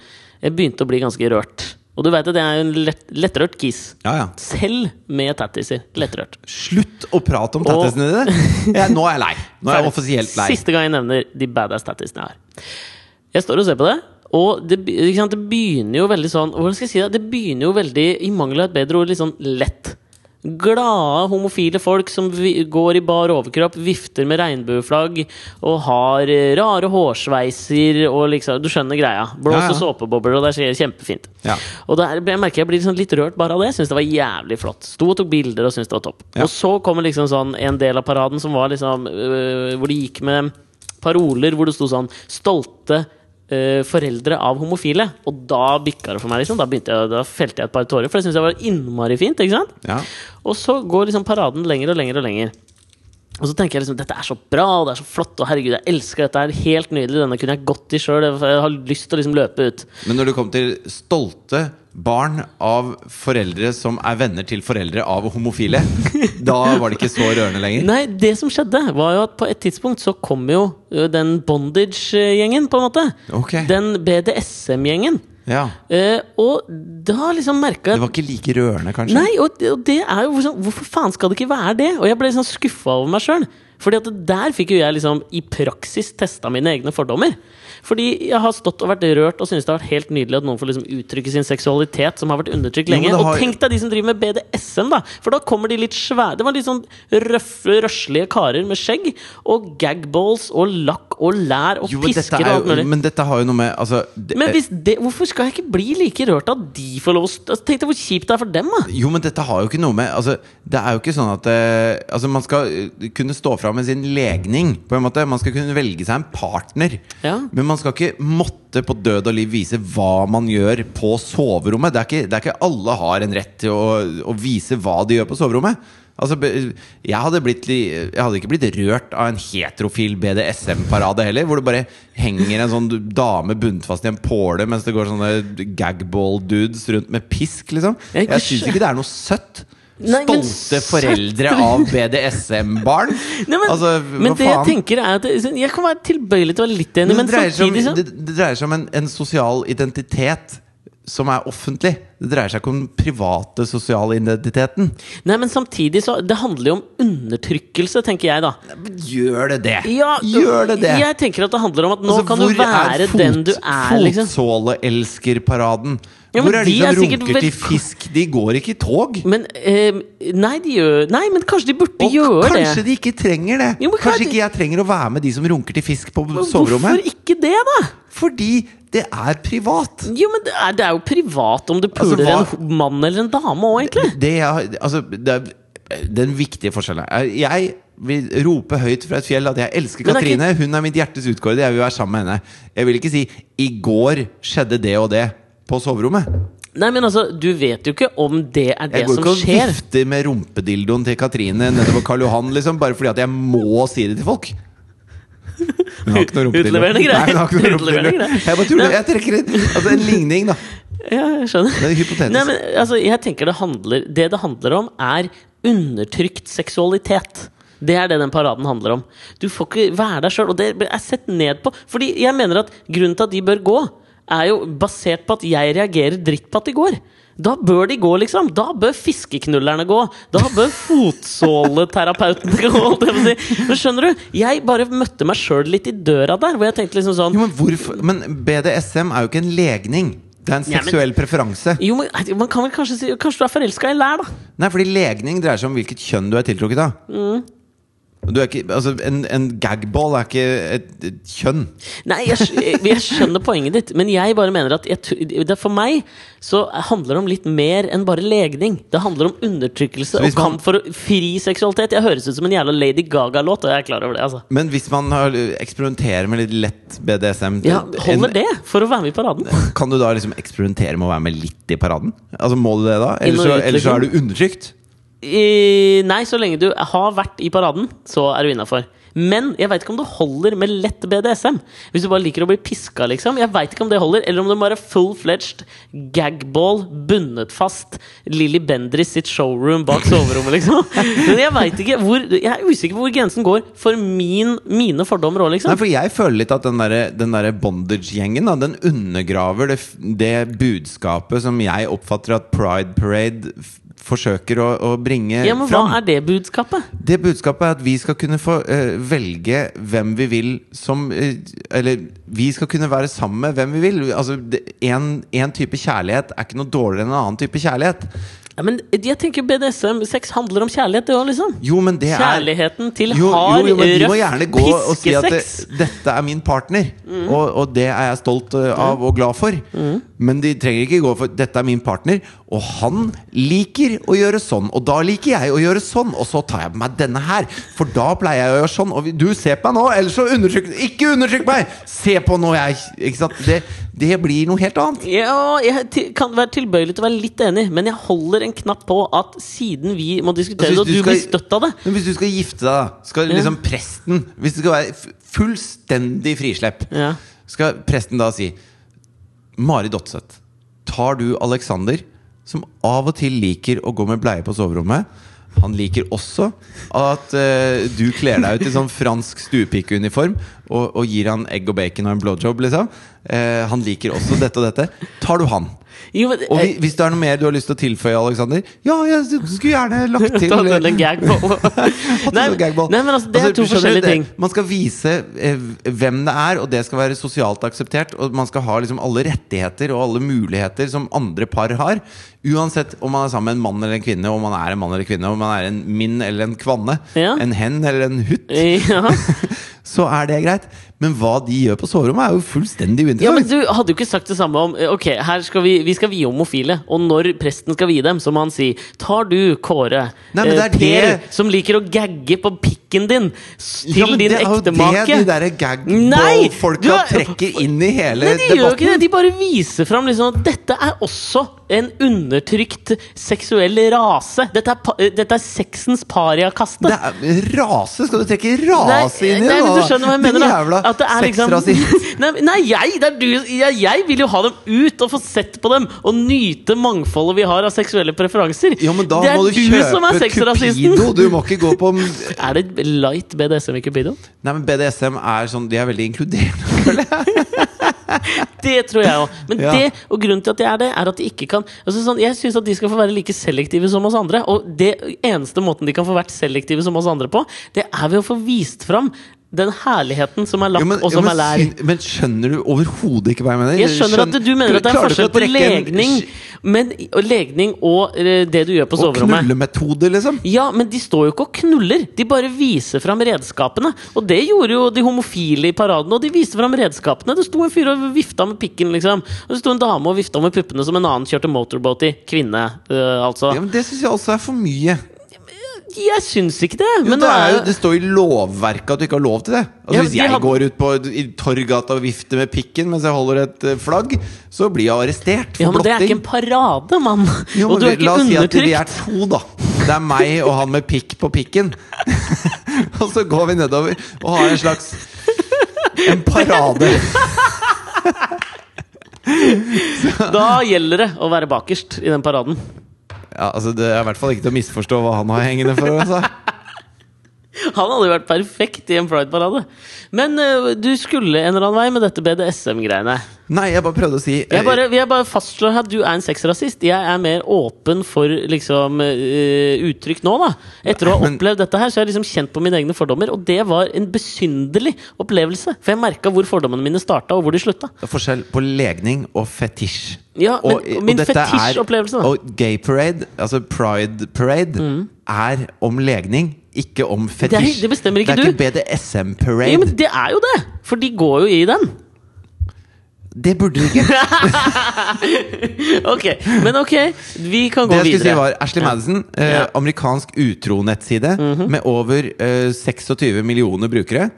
Speaker 2: Jeg begynte å bli ganske rørt. Og du veit at jeg er jo en lett, lettrørt kis.
Speaker 1: Ja, ja.
Speaker 2: Selv med tattiser. Lettrørt.
Speaker 1: Slutt å prate om tattisene dine! Jeg, nå er jeg lei. Nå er jeg offisielt lei.
Speaker 2: Siste gang jeg nevner de badass tattisene jeg har. Jeg står og ser på det, og det, be- ikke sant, det begynner jo veldig sånn Hvordan skal jeg si det? Det begynner jo veldig, i mangel av et bedre ord, litt sånn lett. Glade homofile folk som vi, går i bar overkropp, vifter med regnbueflagg og har eh, rare hårsveiser og liksom Du skjønner greia. Blås
Speaker 1: Ja, ja.
Speaker 2: og såpebobler, og det skjer kjempefint.
Speaker 1: Ja.
Speaker 2: Og der, jeg merker jeg blir sånn litt rørt bare av det. Jeg synes det var jævlig flott. Sto og tok bilder og syntes det var topp.
Speaker 1: Ja.
Speaker 2: Og så kommer liksom sånn en del av paraden som var liksom øh, Hvor de gikk med paroler hvor det sto sånn 'Stolte øh, foreldre av homofile'. Og da bikka det for meg. liksom Da, begynte jeg, da felte jeg et par tårer, for det syns jeg var innmari fint. ikke sant?
Speaker 1: Ja.
Speaker 2: Og så går liksom paraden lenger og lenger og lenger. Og så tenker jeg liksom, dette er så bra, og det er så flott, og herregud, jeg elsker dette her. Helt nydelig. Denne kunne jeg gått i sjøl. Jeg har lyst til å liksom løpe ut.
Speaker 1: Men når du kom til stolte barn av foreldre som er venner til foreldre av homofile, da var det ikke så rørende lenger?
Speaker 2: Nei, det som skjedde var jo at på et tidspunkt så kom jo ø, den bondage-gjengen, på en måte.
Speaker 1: Ok.
Speaker 2: Den BDSM-gjengen.
Speaker 1: Ja.
Speaker 2: Eh, og da liksom
Speaker 1: Det
Speaker 2: merka jeg
Speaker 1: var ikke like rørende, kanskje?
Speaker 2: Nei, og, og det er jo sånn, Hvorfor faen skal det ikke være det? Og jeg ble liksom skuffa over meg sjøl. Fordi at der fikk jo jeg liksom i praksis testa mine egne fordommer. Fordi jeg har stått og vært rørt og synes det har vært helt nydelig at noen får liksom uttrykke sin seksualitet, som har vært undertrykt
Speaker 1: Jo, men
Speaker 2: lenge.
Speaker 1: det har-
Speaker 2: Og tenk deg de som driver med BDSM, da! For da kommer de litt svære Det var litt sånn røffe, røslige karer med skjegg. Og gagballs og lakk og lær og
Speaker 1: Jo, men, dette
Speaker 2: pisker og
Speaker 1: er
Speaker 2: alt
Speaker 1: jo,
Speaker 2: mulig.
Speaker 1: men dette har jo noe med altså, det,
Speaker 2: Men hvis det, hvorfor skal jeg ikke bli like rørt av at de får lov å st- altså, Tenk deg hvor kjipt det er for dem, da!
Speaker 1: Jo, men dette har jo ikke noe med altså, Det er jo ikke sånn at eh, altså, Man skal eh, kunne stå fram med sin legning. På en måte Man skal kunne velge seg en partner.
Speaker 2: Ja.
Speaker 1: Men man skal ikke måtte på død og liv vise hva man gjør på soverommet. Det er ikke, det er ikke alle har en rett til å, å vise hva de gjør på soverommet. Altså, be- jeg hadde, blitt, li- jeg hadde ikke blitt rørt av en heterofil BDSM-parade heller, hvor det bare henger en sånn dame bundet fast i en påle mens det går sånne gagball-dudes rundt med pisk, liksom.
Speaker 2: Jeg
Speaker 1: Jeg,
Speaker 2: ikke
Speaker 1: synes syns
Speaker 2: skjø-
Speaker 1: ikke det er noe søtt.
Speaker 2: Nei, men
Speaker 1: Stolte
Speaker 2: søtt.
Speaker 1: foreldre av BDSM-barn.
Speaker 2: Nei, men
Speaker 1: Altså,
Speaker 2: men
Speaker 1: hva
Speaker 2: det jeg
Speaker 1: faen?
Speaker 2: tenker er at liksom, Jeg kan være tilbøyelig til å være litt enig,
Speaker 1: Men
Speaker 2: men
Speaker 1: det, dreier seg om,
Speaker 2: samtidig så
Speaker 1: det, det dreier seg om en, en sosial identitet som er offentlig. Det dreier seg ikke om den private sosiale identiteten.
Speaker 2: Nei, men samtidig så Det handler jo om undertrykkelse, tenker jeg, da.
Speaker 1: Gjør det det?
Speaker 2: Ja,
Speaker 1: Gjør det det?
Speaker 2: Jeg tenker at det handler om at nå
Speaker 1: Altså,
Speaker 2: kan du
Speaker 1: hvor er
Speaker 2: være
Speaker 1: fot-
Speaker 2: den du er, liksom.
Speaker 1: Fotsåleelskerparaden.
Speaker 2: Ja, men
Speaker 1: Hvor er de,
Speaker 2: de er
Speaker 1: som
Speaker 2: sikkert
Speaker 1: runker til
Speaker 2: velko-
Speaker 1: fisk? De går ikke i tog.
Speaker 2: Men eh, Nei, de gjør Nei, men kanskje de burde gjøre det.
Speaker 1: kanskje de ikke trenger det.
Speaker 2: Jo, men
Speaker 1: kanskje
Speaker 2: hva-
Speaker 1: ikke jeg trenger å være med de som runker til fisk på
Speaker 2: Men
Speaker 1: soverommet.
Speaker 2: Hvorfor ikke det, da?
Speaker 1: Fordi det er privat.
Speaker 2: Jo, men det er, det er jo privat om du
Speaker 1: Altså,
Speaker 2: puler
Speaker 1: hva-
Speaker 2: en ho- mann eller en dame òg, egentlig.
Speaker 1: Det jeg, har- altså, det er, den viktige forskjellen er Jeg vil rope høyt fra et fjell at jeg elsker
Speaker 2: Men det er
Speaker 1: Katrine. Hun er mitt hjertes utkårede. Jeg vil være sammen med henne. Jeg vil ikke si 'i går skjedde det og det' på soverommet.
Speaker 2: Nei, men altså, du vet jo ikke om det er det
Speaker 1: Jeg går
Speaker 2: som
Speaker 1: ikke og
Speaker 2: skjer.
Speaker 1: vifter med rumpedildoen til Katrine nede på Karl Johan liksom, bare fordi at jeg må si det til folk. Hun har ikke noe rumpedildo.
Speaker 2: Utleverende greier.
Speaker 1: Nei, hun har ikke noe
Speaker 2: Utleverende
Speaker 1: rumpedildo.
Speaker 2: greier.
Speaker 1: Jeg bare tuller. Jeg trekker et, altså en ligning, da.
Speaker 2: Ja, jeg skjønner.
Speaker 1: Det er hypotetisk.
Speaker 2: Nei, men, altså, jeg tenker det, handler, det det handler om, er undertrykt seksualitet. Det er det den paraden handler om. Du får ikke være deg sjøl. Og det er sett ned på. Fordi jeg mener at grunnen til at de bør gå, er jo basert på at jeg reagerer dritt på at de går. Da bør de gå, liksom. Da bør fiskeknullerne gå. Da bør fotsåleterapeutene gå. holdt jeg på å si. Men skjønner du? Jeg bare møtte meg sjøl litt i døra der, hvor jeg tenkte liksom sånn
Speaker 1: Jo, men, hvorfor? men BDSM er jo ikke en legning. Det er en
Speaker 2: Ja, men-
Speaker 1: seksuell preferanse.
Speaker 2: Jo, men man kan vel kanskje si Kanskje du er forelska i lær, da?
Speaker 1: Nei, fordi legning dreier seg om hvilket kjønn du er tiltrukket av.
Speaker 2: Mm.
Speaker 1: Du er ikke, altså, en, en gagball er ikke et, et kjønn.
Speaker 2: Nei, jeg, skj- jeg, jeg skjønner poenget ditt, men jeg bare mener at jeg, tr- det for meg så handler det om litt mer enn bare legning. Det handler om undertrykkelse
Speaker 1: Så
Speaker 2: og
Speaker 1: hvis man-
Speaker 2: kamp for å- fri seksualitet. Jeg høres ut som en jævla Lady Gaga-låt, og jeg er klar over det. altså
Speaker 1: Men hvis man har, eksperimenterer med litt lett BDSM
Speaker 2: ja,
Speaker 1: en-
Speaker 2: Holder det for å være med i paraden?
Speaker 1: Kan du da liksom eksperimentere med å være med litt i paraden? Altså Må du det da?
Speaker 2: Inn
Speaker 1: Eller
Speaker 2: og
Speaker 1: så,
Speaker 2: ut,
Speaker 1: eller så
Speaker 2: liksom.
Speaker 1: er du undertrykt?
Speaker 2: I, nei, så lenge du har vært i paraden, så er du innafor. Men jeg veit ikke om det holder med lett BDSM. Hvis du bare liker å bli piska, liksom. Jeg vet ikke om det holder Eller om det må være full-fledged gagball bundet fast Lilly Bendriss sitt showroom bak soverommet, liksom. Men jeg veit ikke hvor Jeg er usikker på hvor grensen går for min, mine fordommer òg,
Speaker 1: Nei,
Speaker 2: liksom.
Speaker 1: for jeg føler litt at den derre den derre bondage-gjengen da, Den undergraver det, f- det budskapet som jeg oppfatter at Pride Parade f forsøker å, å bringe
Speaker 2: Ja, men
Speaker 1: fram.
Speaker 2: hva er det budskapet?
Speaker 1: Det budskapet er at vi skal kunne få eh, velge hvem vi vil som eh, Eller vi skal kunne være sammen med hvem vi vil. Altså, Én type kjærlighet er ikke noe dårligere enn en annen type kjærlighet.
Speaker 2: Ja, men jeg tenker BDSM-sex handler om kjærlighet, det òg, liksom.
Speaker 1: Jo, men det er
Speaker 2: Kjærligheten til
Speaker 1: jo,
Speaker 2: hard,
Speaker 1: jo, jo, men de må
Speaker 2: røff
Speaker 1: gjerne gå og si at det,
Speaker 2: piskesex. Mm.
Speaker 1: 'dette er min partner', og, og det er jeg stolt eh, av og glad for. Men de trenger ikke gå for 'dette er min partner', og han liker å gjøre sånn, og da liker jeg å gjøre sånn, og så tar jeg på meg denne her, for da pleier jeg å gjøre sånn, og vi- du ser på meg nå, ellers så undertrykk Ikke undertrykk meg! Se på nå, jeg Ikke sant? Det, det blir noe helt annet.
Speaker 2: Ja, jeg til, kan være tilbøyelig til å være litt enig, men jeg holder en knapp på at siden vi må diskutere det,
Speaker 1: Altså,
Speaker 2: og du blir støtt av det
Speaker 1: Men hvis du skal gifte deg, da skal liksom presten Hvis det skal være f- fullstendig frislepp,
Speaker 2: Ja.
Speaker 1: skal presten da si Mari Dotseth, tar du Alexander, som av og til liker å gå med bleie på soverommet? Han liker også at eh, du kler deg ut i sånn fransk stuepikeuniform og, og gir han egg og bacon og en blowjob, liksom. Eh, han liker også dette og dette. Tar du han?
Speaker 2: jo, men,
Speaker 1: Og
Speaker 2: eh,
Speaker 1: vi, hvis det er noe mer du har lyst til å tilføye, Alexander Ja, jeg skulle gjerne lagt til
Speaker 2: eh, ta den en gag på.
Speaker 1: Hatt
Speaker 2: nei,
Speaker 1: en sånn gagball.
Speaker 2: nei, men altså, det
Speaker 1: Altså,
Speaker 2: er to
Speaker 1: du skjønner,
Speaker 2: forskjellige
Speaker 1: det-
Speaker 2: ting.
Speaker 1: Man skal vise eh, hvem det er, og det skal være sosialt akseptert. Og man skal ha liksom alle rettigheter og alle muligheter som andre par har. Uansett om man er sammen med en mann eller en kvinne, om man er en mann eller en kvinne, om man er en min eller en kvanne,
Speaker 2: Ja.
Speaker 1: en hen eller en hutt,
Speaker 2: Ja.
Speaker 1: så er det greit. Men hva de gjør på soverommet, er jo fullstendig uinteressant.
Speaker 2: ja, men du hadde jo ikke sagt det samme om eh, Ok, her skal vi, vi skal vie homofile, og når presten skal vie dem, så må han si Tar du, Kåre,
Speaker 1: Nei, men
Speaker 2: eh,
Speaker 1: det er
Speaker 2: Per,
Speaker 1: det-
Speaker 2: som liker å gagge på pikken din, s- til
Speaker 1: Ja, men
Speaker 2: din
Speaker 1: det er jo
Speaker 2: ektemake
Speaker 1: Det de derre
Speaker 2: Nei, du
Speaker 1: gagball-folka
Speaker 2: er-
Speaker 1: trekker inn i hele
Speaker 2: Nei, de gjør jo ikke det.
Speaker 1: debatten.
Speaker 2: De bare viser fram liksom at dette er også en undertrykt seksuell rase. Dette er, pa eh, dette er sexens pariakaste.
Speaker 1: Det er rase! Skal du trekke rase inn i
Speaker 2: nei,
Speaker 1: det?
Speaker 2: men
Speaker 1: da?
Speaker 2: du skjønner hva jeg
Speaker 1: Din
Speaker 2: mener, da.
Speaker 1: Jævla
Speaker 2: At det er liksom-
Speaker 1: sexrasist.
Speaker 2: nei, men- nei, jeg! Det er du, jeg, jeg vil jo ha dem ut og få sett på dem! Og nyte mangfoldet vi har av seksuelle preferanser.
Speaker 1: Ja, men da
Speaker 2: det er
Speaker 1: må du,
Speaker 2: du som er
Speaker 1: kjøpe
Speaker 2: sexrasisten!
Speaker 1: Cupido! Du må ikke gå på Nei,
Speaker 2: Er det light BDSM i Cupido?
Speaker 1: men BDSM er sånn De er veldig inkluderende.
Speaker 2: Det tror jeg òg. Men
Speaker 1: Ja.
Speaker 2: det, og grunnen til at jeg er det, er at de ikke kan altså sånn, Jeg syns at de skal få være like selektive som oss andre. Og det eneste måten de kan få vært selektive som oss andre på, det er ved å få vist fram den herligheten som er lakk,
Speaker 1: Jo, men,
Speaker 2: og
Speaker 1: jo,
Speaker 2: som
Speaker 1: men,
Speaker 2: er lær.
Speaker 1: syn- men skjønner du overhodet ikke hva jeg mener?
Speaker 2: Jeg skjønner at du mener at det er
Speaker 1: Klarer du
Speaker 2: forskjell
Speaker 1: ikke å
Speaker 2: på
Speaker 1: trekke en-
Speaker 2: legning, men, og legning og eh, det du gjør på
Speaker 1: og
Speaker 2: soverommet.
Speaker 1: knullemetode, liksom?
Speaker 2: Ja, men de står jo ikke og knuller. De bare viser fram redskapene. Og det gjorde jo de homofile i paraden. Og de viste fram redskapene. Det sto en fyr og vifta med pikken, liksom. Og det sto en dame og vifta med puppene som en annen kjørte motorboat i. Kvinne, øh, altså.
Speaker 1: Ja, men Det syns jeg også er for mye.
Speaker 2: Jeg syns ikke det.
Speaker 1: Men
Speaker 2: Men
Speaker 1: det,
Speaker 2: nå
Speaker 1: er jo,
Speaker 2: er
Speaker 1: det står i lovverket at du ikke har lov til det. Altså
Speaker 2: Ja,
Speaker 1: Hvis
Speaker 2: de
Speaker 1: jeg
Speaker 2: hadde-
Speaker 1: går ut på i Torgata og vifter med pikken mens jeg holder et eh, flagg, så blir jeg arrestert for
Speaker 2: ja, men det er
Speaker 1: blotting.
Speaker 2: ikke en parade, mann!
Speaker 1: Jo,
Speaker 2: og
Speaker 1: men
Speaker 2: du er
Speaker 1: vi- la
Speaker 2: ikke
Speaker 1: oss si at vi
Speaker 2: undertrykt.
Speaker 1: er to, da. Det er meg og han med pikk på pikken. og så går vi nedover og har en slags En parade!
Speaker 2: Da gjelder det å være bakerst i den paraden.
Speaker 1: Ja, altså, det er i hvert fall ikke til å misforstå hva han har hengende for. Altså.
Speaker 2: Han hadde jo vært perfekt i en Pride-parade. Men eh, du skulle en eller annen vei med dette BDSM-greiene.
Speaker 1: Nei, jeg bare prøvde å si eh,
Speaker 2: Jeg bare, jeg bare fastslår at du er en sexrasist. Jeg er mer åpen for liksom, eh, uttrykk nå, da. Etter å ha
Speaker 1: Men-
Speaker 2: opplevd dette her, så har jeg liksom kjent på mine egne fordommer. Og det var en besynderlig opplevelse. For jeg merka hvor fordommene mine starta, og hvor de slutta.
Speaker 1: Det er forskjell på legning og fetisj.
Speaker 2: Ja, men- min
Speaker 1: dette er-
Speaker 2: fetisjopplevelse, da. Mm.
Speaker 1: Og gay parade, altså pride parade, er om legning, ikke om
Speaker 2: Det
Speaker 1: fetisj.
Speaker 2: er- det bestemmer ikke
Speaker 1: Det er
Speaker 2: du.
Speaker 1: ikke BDSM parade.
Speaker 2: Ja, men det er jo det! For de går jo i den.
Speaker 1: Det burde du ikke.
Speaker 2: Ok, Men ok, vi kan gå
Speaker 1: Det jeg skulle si
Speaker 2: videre.
Speaker 1: var Ashley Madison, eh,
Speaker 2: Ja. Mhm.
Speaker 1: amerikansk utro-nettside med over eh, 26 millioner brukere.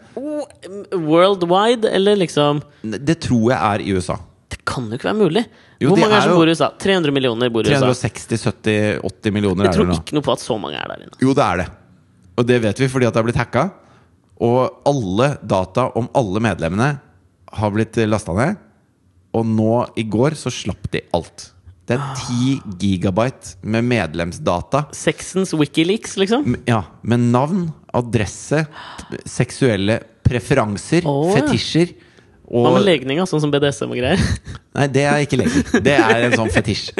Speaker 2: Worldwide, eller liksom
Speaker 1: Det tror jeg er i USA.
Speaker 2: Det kan jo ikke være mulig!
Speaker 1: Jo,
Speaker 2: Hvor
Speaker 1: det
Speaker 2: mange
Speaker 1: er
Speaker 2: er som
Speaker 1: jo-
Speaker 2: bor i USA? 300 millioner bor i USA.
Speaker 1: 360-70-80 millioner
Speaker 2: Jeg
Speaker 1: er det
Speaker 2: tror
Speaker 1: nå.
Speaker 2: ikke noe på at så mange er der inne.
Speaker 1: Jo, det er det. Og det vet vi fordi at det har blitt hacka. Og alle data om alle medlemmene har blitt lasta ned. Og nå i går så slapp de alt. Det er ti gigabyte med medlemsdata.
Speaker 2: Sexens Wikileaks, liksom?
Speaker 1: M- Ja, Med navn, adresse, t- seksuelle preferanser,
Speaker 2: Å, ja.
Speaker 1: fetisjer.
Speaker 2: Hva med
Speaker 1: Og
Speaker 2: legninga, sånn som BDSM og greier?
Speaker 1: Nei, det er ikke lenger. Det er en sånn fetisj.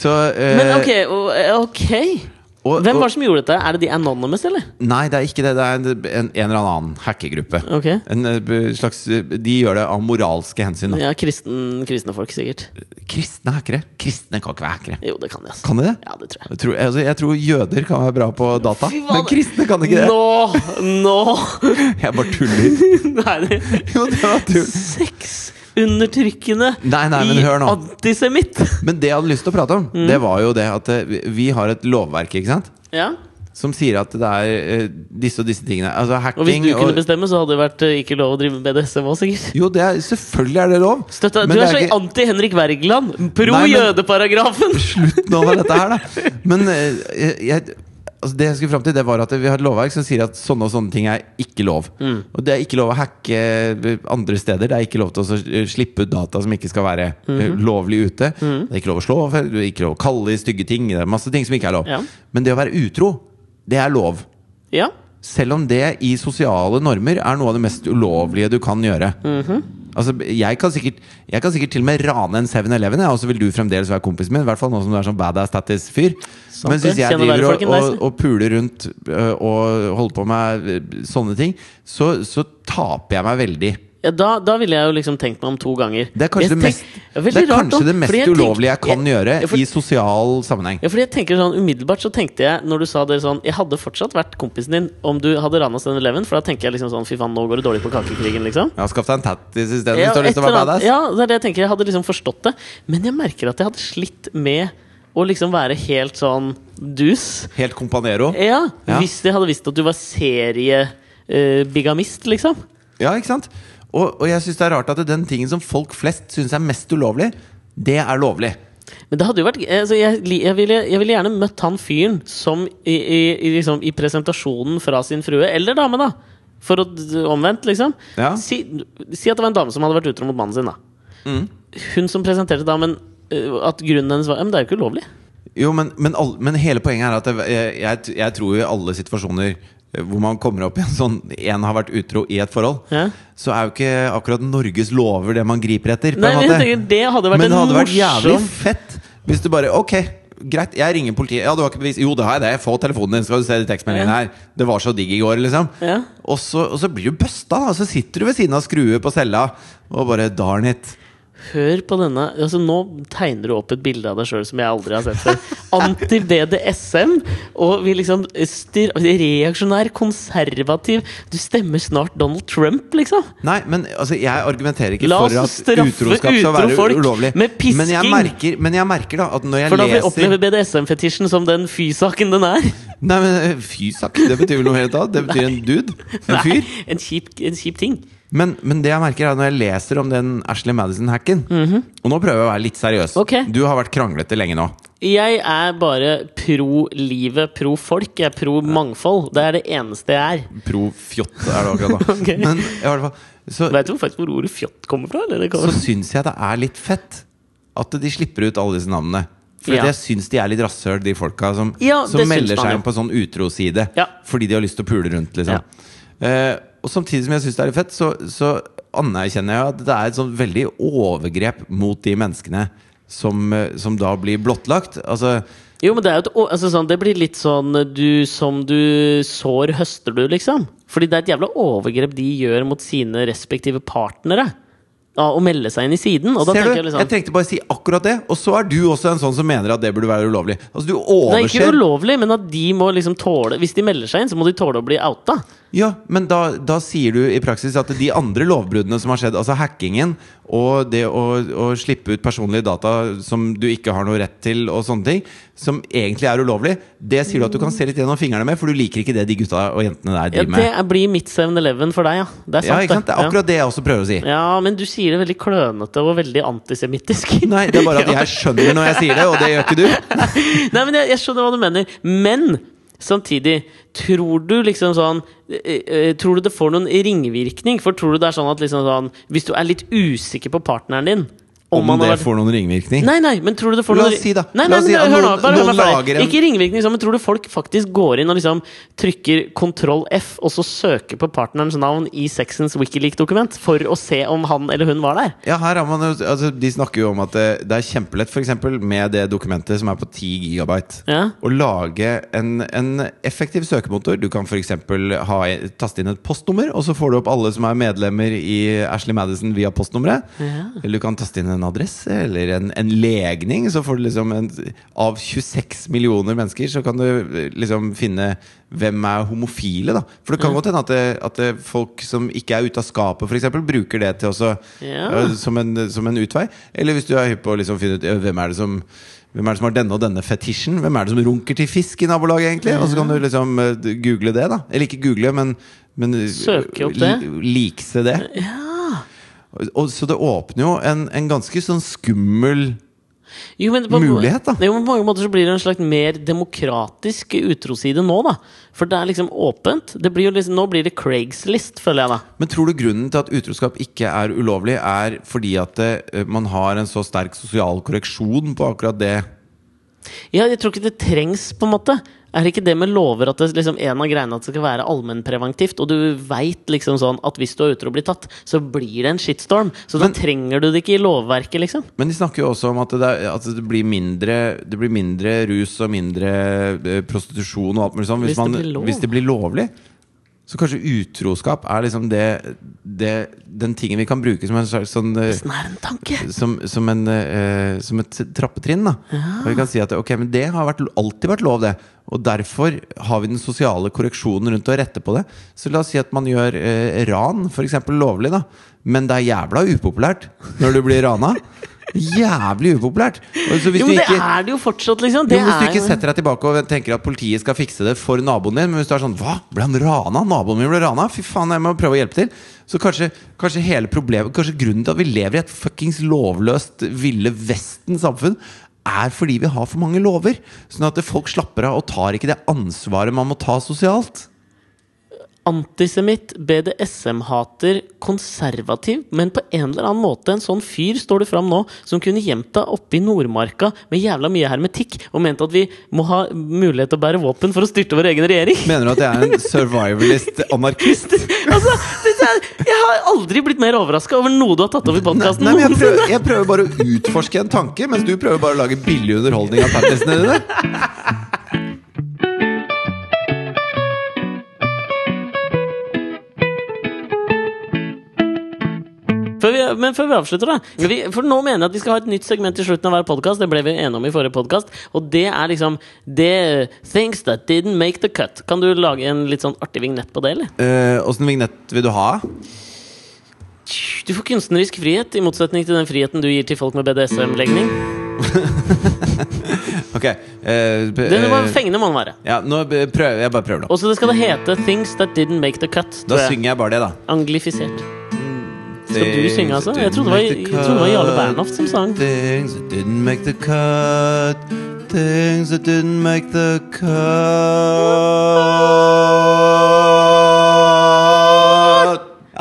Speaker 1: Så eh,
Speaker 2: Men ok, og- ok.
Speaker 1: og-
Speaker 2: Hvem
Speaker 1: og-
Speaker 2: var det som gjorde dette? Er det de Anonymous, eller?
Speaker 1: Nei, det er ikke det. Det er en, en, en eller annen hackergruppe.
Speaker 2: Ok.
Speaker 1: En eh, b- slags eh, De gjør det av moralske hensyn. Da.
Speaker 2: Ja, kristen, kristne folk, sikkert.
Speaker 1: Kristne hackere? Kristne kan ikke være hackere.
Speaker 2: Jo, det kan de, altså.
Speaker 1: Kan de det?
Speaker 2: Ja, det tror jeg.
Speaker 1: Jeg tror, altså, jeg tror jøder kan være bra på data,
Speaker 2: Fy faen.
Speaker 1: men kristne kan ikke det.
Speaker 2: Nå! Nå!
Speaker 1: Jeg bare tuller.
Speaker 2: Nei, det
Speaker 1: Jo, det var tull.
Speaker 2: Sexundertrykkende
Speaker 1: Nei, nei, men hør nå.
Speaker 2: antisemitt!
Speaker 1: Men det jeg hadde lyst til å prate om,
Speaker 2: Mm.
Speaker 1: det var jo det at eh, vi- vi har et lovverk ikke sant?
Speaker 2: Ja.
Speaker 1: som sier at det er eh, disse og disse tingene. Altså
Speaker 2: Og hvis
Speaker 1: hacking
Speaker 2: du kunne bestemme, så hadde det vært eh, ikke lov å drive med BDSM òg, sikkert.
Speaker 1: Jo, det er, selvfølgelig er det lov.
Speaker 2: Støtta,
Speaker 1: Men
Speaker 2: du
Speaker 1: det
Speaker 2: er så
Speaker 1: ikke-
Speaker 2: anti-Henrik Wergeland! Pro
Speaker 1: Nei, men-
Speaker 2: jødeparagrafen!
Speaker 1: slutten over dette her, da. Men eh, jeg, altså det jeg skulle fram til, det var at vi har et lovverk som sier at sånne og sånne ting er ikke lov.
Speaker 2: Mm.
Speaker 1: Og det er ikke lov å hacke eh, andre steder. Det er ikke lov til å så, eh, slippe ut data som ikke skal være eh,
Speaker 2: Mhm.
Speaker 1: lovlig ute.
Speaker 2: Mm.
Speaker 1: Det er ikke lov å slå, det er ikke lov å kalle i stygge ting. Det er masse ting som ikke er lov.
Speaker 2: Ja.
Speaker 1: Men det å være utro, det er lov.
Speaker 2: Ja.
Speaker 1: Selv om det i sosiale normer er noe av det mest ulovlige du kan gjøre.
Speaker 2: Mhm.
Speaker 1: Altså, jeg kan, sikkert, jeg kan sikkert til og med rane en 7-Eleven, jeg, og så vil du fremdeles være kompisen min. I hvert fall nå som du er sånn badass tattis-fyr. Men
Speaker 2: det.
Speaker 1: hvis jeg
Speaker 2: Kjenner
Speaker 1: driver og,
Speaker 2: verden, folkens.
Speaker 1: og, og puler rundt øh, og holder på med øh, sånne ting, så, så taper jeg meg veldig.
Speaker 2: Ja, da, da ville jeg jo liksom tenkt meg om to ganger.
Speaker 1: Det er kanskje det
Speaker 2: Jeg
Speaker 1: mest,
Speaker 2: tenk- Ja,
Speaker 1: det
Speaker 2: veldig
Speaker 1: er
Speaker 2: rart da,
Speaker 1: kanskje det mest
Speaker 2: fordi jeg tenk-
Speaker 1: ulovlige jeg kan gjøre
Speaker 2: ja, for-
Speaker 1: i sosial sammenheng.
Speaker 2: Ja, fordi jeg tenker sånn Umiddelbart så tenkte jeg, når du sa det sånn Jeg hadde fortsatt vært kompisen din om du hadde rana 7-Eleven, for da tenker jeg liksom sånn Fy faen, nå går det dårlig på kakekrigen, liksom.
Speaker 1: Ja, Skaff deg en tattis isteden
Speaker 2: Ja,
Speaker 1: hvis du har lyst
Speaker 2: et
Speaker 1: til å
Speaker 2: eller
Speaker 1: være
Speaker 2: annet-
Speaker 1: badass.
Speaker 2: ja, det er det jeg tenker. Jeg hadde liksom forstått det. Men jeg merker at jeg hadde slitt med å liksom være helt sånn dus.
Speaker 1: Helt companero.
Speaker 2: Ja,
Speaker 1: Ja.
Speaker 2: Hvis jeg hadde visst at du var seriebigamist, liksom.
Speaker 1: Ja, ikke sant? Og, og jeg syns det er rart at den tingen som folk flest syns er mest ulovlig, det er lovlig.
Speaker 2: Men det hadde jo vært altså jeg, li- jeg, ville, jeg ville gjerne møtt han fyren som i, i, i, liksom, i presentasjonen fra sin frue, eller dame, da, for å d- omvendt, liksom
Speaker 1: Ja.
Speaker 2: si, si at det var en dame som hadde vært utro mot mannen sin, da. Hun som presenterte damen, øh, at grunnen hennes var Ja, men det er jo ikke ulovlig.
Speaker 1: Jo, men, men, all, men hele poenget er at det- jeg, jeg, jeg tror i alle situasjoner eh, hvor man kommer opp i en sånn En har vært utro i et forhold,
Speaker 2: Ja.
Speaker 1: så er jo ikke akkurat Norges lover det man griper etter. På
Speaker 2: Nei,
Speaker 1: en
Speaker 2: men jeg
Speaker 1: måte.
Speaker 2: tenker Det hadde vært
Speaker 1: Men det
Speaker 2: en
Speaker 1: hadde vært jævlig
Speaker 2: morsom
Speaker 1: fett hvis du bare Ok, greit, jeg ringer politiet. Ja, du har ikke bevis? Jo, det har jeg det. Få telefonen din, så skal du se de tekstmeldingene her. Det var så digg i går, liksom.
Speaker 2: Ja.
Speaker 1: Og, så, og så blir du busta, da. Så sitter du ved siden av skruet på cella og bare darn it.
Speaker 2: Hør på denne altså Nå tegner du opp et bilde av deg sjøl som jeg aldri har sett før. Anti-BDSM. Og vi liksom styr, Reaksjonær, konservativ. Du stemmer snart Donald Trump, liksom.
Speaker 1: Nei, men altså, jeg argumenterer ikke
Speaker 2: La oss
Speaker 1: for at
Speaker 2: straffe
Speaker 1: utroskap skal være
Speaker 2: utro folk
Speaker 1: ulovlig. Men jeg,
Speaker 2: med pisking.
Speaker 1: merker, men jeg merker da at når jeg
Speaker 2: For da får vi
Speaker 1: leser
Speaker 2: oppleve BDSM-fetisjen som den fy-saken den er.
Speaker 1: Nei, men fysak, det betyr vel noe helt annet. Det betyr en dude. En
Speaker 2: Nei,
Speaker 1: fyr.
Speaker 2: en kjip, en kjip ting.
Speaker 1: Men, men det jeg merker er når jeg leser om den Ashley Madison-hacken Og nå prøver jeg å være litt seriøs.
Speaker 2: Mhm. Ok.
Speaker 1: Du har vært kranglete lenge nå.
Speaker 2: Jeg er bare pro livet, pro folk. Jeg er pro mangfold. Det er det eneste jeg er.
Speaker 1: Pro fjott er det akkurat nå.
Speaker 2: Ok.
Speaker 1: Men i hvert fall så,
Speaker 2: Vet du faktisk hvor ordet fjott kommer fra? Eller? Det
Speaker 1: så
Speaker 2: kommer.
Speaker 1: syns jeg det er litt fett at de slipper ut alle disse navnene. For
Speaker 2: Ja.
Speaker 1: jeg syns de er litt rasshøl, de folka som,
Speaker 2: Ja,
Speaker 1: som
Speaker 2: det syns
Speaker 1: melder
Speaker 2: man
Speaker 1: seg
Speaker 2: jo.
Speaker 1: inn på sånn utroside
Speaker 2: Ja.
Speaker 1: fordi de har lyst til å pule rundt, liksom. Eh, og samtidig som jeg syns det er litt fett, så, så anerkjenner jeg at det er et sånn veldig overgrep mot de menneskene som, eh, som da blir blottlagt. Altså,
Speaker 2: Jo, men det er jo et, å- altså, sånn, Det blir litt sånn du, som du sår, høster du, liksom. Fordi det er et jævla overgrep de gjør mot sine respektive partnere. Av å melde seg inn i siden. Og da
Speaker 1: ser du?
Speaker 2: tenker jeg
Speaker 1: Jeg,
Speaker 2: litt sånn
Speaker 1: trengte bare si akkurat det, og så er du også en sånn som mener at det burde være ulovlig. Altså, du
Speaker 2: Det er ikke
Speaker 1: overser
Speaker 2: ulovlig, men at de må liksom tåle Hvis de melder seg inn, så må de tåle å bli outa.
Speaker 1: Ja, men da, da sier du i praksis at de andre lovbruddene som har skjedd, altså hackingen og det å, å slippe ut personlige data som du ikke har noe rett til, og sånne ting, som egentlig er ulovlig, det sier du at du kan se litt gjennom fingrene med, for du liker ikke det de gutta og jentene der
Speaker 2: Ja,
Speaker 1: driver med.
Speaker 2: det er, blir mitt 7-Eleven for deg, ja. Det er
Speaker 1: Ja,
Speaker 2: sant,
Speaker 1: ikke sant? Det er akkurat det jeg også prøver å si.
Speaker 2: ja. ja, men du sier det veldig klønete og veldig antisemittisk.
Speaker 1: Nei, det er bare at jeg skjønner når jeg sier det, og det gjør ikke du.
Speaker 2: Nei, men jeg, jeg skjønner hva du mener. Men samtidig, tror du liksom sånn eh, eh, Tror du det får noen ringvirkning? For tror du det er sånn at liksom sånn Hvis du er litt usikker på partneren din
Speaker 1: Om
Speaker 2: han har
Speaker 1: det
Speaker 2: vært-
Speaker 1: får noen ringvirkning.
Speaker 2: Nei, nei, men tror du det får
Speaker 1: La
Speaker 2: noen
Speaker 1: oss si da. La
Speaker 2: Nei, nei,
Speaker 1: oss
Speaker 2: men,
Speaker 1: si at
Speaker 2: hør nå,
Speaker 1: noen-
Speaker 2: bare hør meg
Speaker 1: noen
Speaker 2: ferdig.
Speaker 1: lager en-
Speaker 2: Ikke ringvirkning, sånn, men tror du folk faktisk går inn og liksom trykker kontroll F, og så søker på partnerens navn i sexens Wikileak-dokument for å se om han eller hun var der?
Speaker 1: Ja, her har man jo altså, De snakker jo om at det, det er kjempelett, f.eks. med det dokumentet som er på 10 gigabyte.
Speaker 2: Ja.
Speaker 1: Å lage en, en effektiv søkemotor. Du kan f.eks. taste inn et postnummer, og så får du opp alle som er medlemmer i Ashley Madison via postnummeret. Eller du kan taste inn en adresse eller en, en legning. Så får du liksom en, Av 26 millioner mennesker så kan du eh, liksom finne hvem er homofile, da. For
Speaker 2: Mm.
Speaker 1: det kan godt hende at, det, at det folk som ikke er ute av skapet, f.eks., bruker det til også
Speaker 2: Ja.
Speaker 1: eh, som en, som en utvei. Eller hvis du er hypp på å liksom finne ut ja, hvem er det som hvem er det som har denne og denne fetisjen? Hvem er det som runker til fisk i nabolaget? egentlig? Og så kan du liksom eh, d- google det, da. Eller ikke google, men, men eh,
Speaker 2: Søke opp det.
Speaker 1: li- Likse det. Og, og, så det åpner jo en, en ganske sånn skummel
Speaker 2: Jo, men
Speaker 1: Mulighet, da.
Speaker 2: Jo, men på mange måter så blir det en slags mer demokratisk utroside nå, da. For det er liksom åpent. Det blir jo liksom, nå blir det Craigslist, føler jeg, da.
Speaker 1: Men tror du grunnen til at utroskap ikke er ulovlig, er fordi at eh, man har en så sterk sosial korreksjon på akkurat det?
Speaker 2: Ja, jeg tror ikke det trengs, på en måte. Er det ikke det med lover at det liksom en av greiene at det skal være allmennpreventivt, og du veit liksom sånn at hvis du er ute og blir tatt, så blir det en shitstorm. Så da
Speaker 1: Men-
Speaker 2: trenger du det ikke i lovverket, liksom.
Speaker 1: Men de snakker jo også om at det, er, at det, blir, mindre, det blir mindre rus og mindre eh, prostitusjon og alt mulig sånn hvis,
Speaker 2: Hvis det
Speaker 1: man-
Speaker 2: blir lov.
Speaker 1: hvis det blir lovlig. Så kanskje utroskap er liksom det, det, den tingen vi kan bruke som en slags sånn eh,
Speaker 2: Sånn er det en tanke.
Speaker 1: som, som, en, eh, som et trappetrinn. Da. Og vi kan si at ok, men det har vært, alltid vært lov, det. Og derfor har vi den sosiale korreksjonen rundt å rette på det. Så la oss si at man gjør eh, ran f.eks. lovlig, da. Men det er jævla upopulært når du blir rana. Jævlig upopulært! Og så hvis
Speaker 2: Jo,
Speaker 1: du
Speaker 2: men det
Speaker 1: ikke
Speaker 2: er det jo fortsatt, liksom.
Speaker 1: jo,
Speaker 2: Det
Speaker 1: men hvis du
Speaker 2: er
Speaker 1: ikke
Speaker 2: jo-
Speaker 1: setter deg tilbake og tenker at politiet skal fikse det for naboen din, men hvis du er sånn Hva? Ble han rana? Naboen min ble rana? Fy faen, jeg må prøve å hjelpe til. Så kanskje, kanskje hele problemet Kanskje grunnen til at vi lever i et fuckings lovløst Ville Vesten-samfunn, er fordi vi har for mange lover. Sånn at folk slapper av og tar ikke det ansvaret man må ta sosialt.
Speaker 2: Antisemitt, BDSM-hater, konservativ, men på en eller annen måte en sånn fyr, står det fram nå, som kunne gjemt deg oppe i Nordmarka med jævla mye hermetikk, og mente at vi må ha mulighet til å bære våpen for å styrte vår egen regjering.
Speaker 1: Mener du at jeg er en survivalist anarkist?
Speaker 2: altså, dette er, jeg har aldri blitt mer overraska over noe du har tatt opp i
Speaker 1: Nei,
Speaker 2: podkasten
Speaker 1: nei, men jeg,
Speaker 2: noensinne.
Speaker 1: prøver, jeg prøver bare å utforske en tanke, mens du prøver bare å lage billig underholdning av pattisene dine.
Speaker 2: Før vi, men før vi avslutter, da. skal Vi, for nå mener jeg at vi skal ha et nytt segment til slutten av hver podkast. Det ble vi enige om i forrige podkast. Og det er liksom det, Things that didn't make the cut. Kan du lage en litt sånn artig vignett på det, eller?
Speaker 1: Eh, Åssen vignett vil du ha?
Speaker 2: Du får kunstnerisk frihet, i motsetning til den friheten du gir til folk med BDSM-legning.
Speaker 1: Ok eh, b-
Speaker 2: Den må
Speaker 1: eh,
Speaker 2: fengende må den være.
Speaker 1: Ja, nå b- prøver jeg bare prøver nå
Speaker 2: Og så det skal det hete 'Things That Didn't Make The Cut'.
Speaker 1: Da
Speaker 2: Tror jeg.
Speaker 1: synger jeg bare det da
Speaker 2: Anglifisert. Skal du synge, altså? Jeg trodde det var, jeg
Speaker 1: Things that
Speaker 2: trodde det var Jarle
Speaker 1: didn't make the
Speaker 2: Bernhoft som sang.
Speaker 1: cut. Things that didn't make the cut Things that didn't make the cut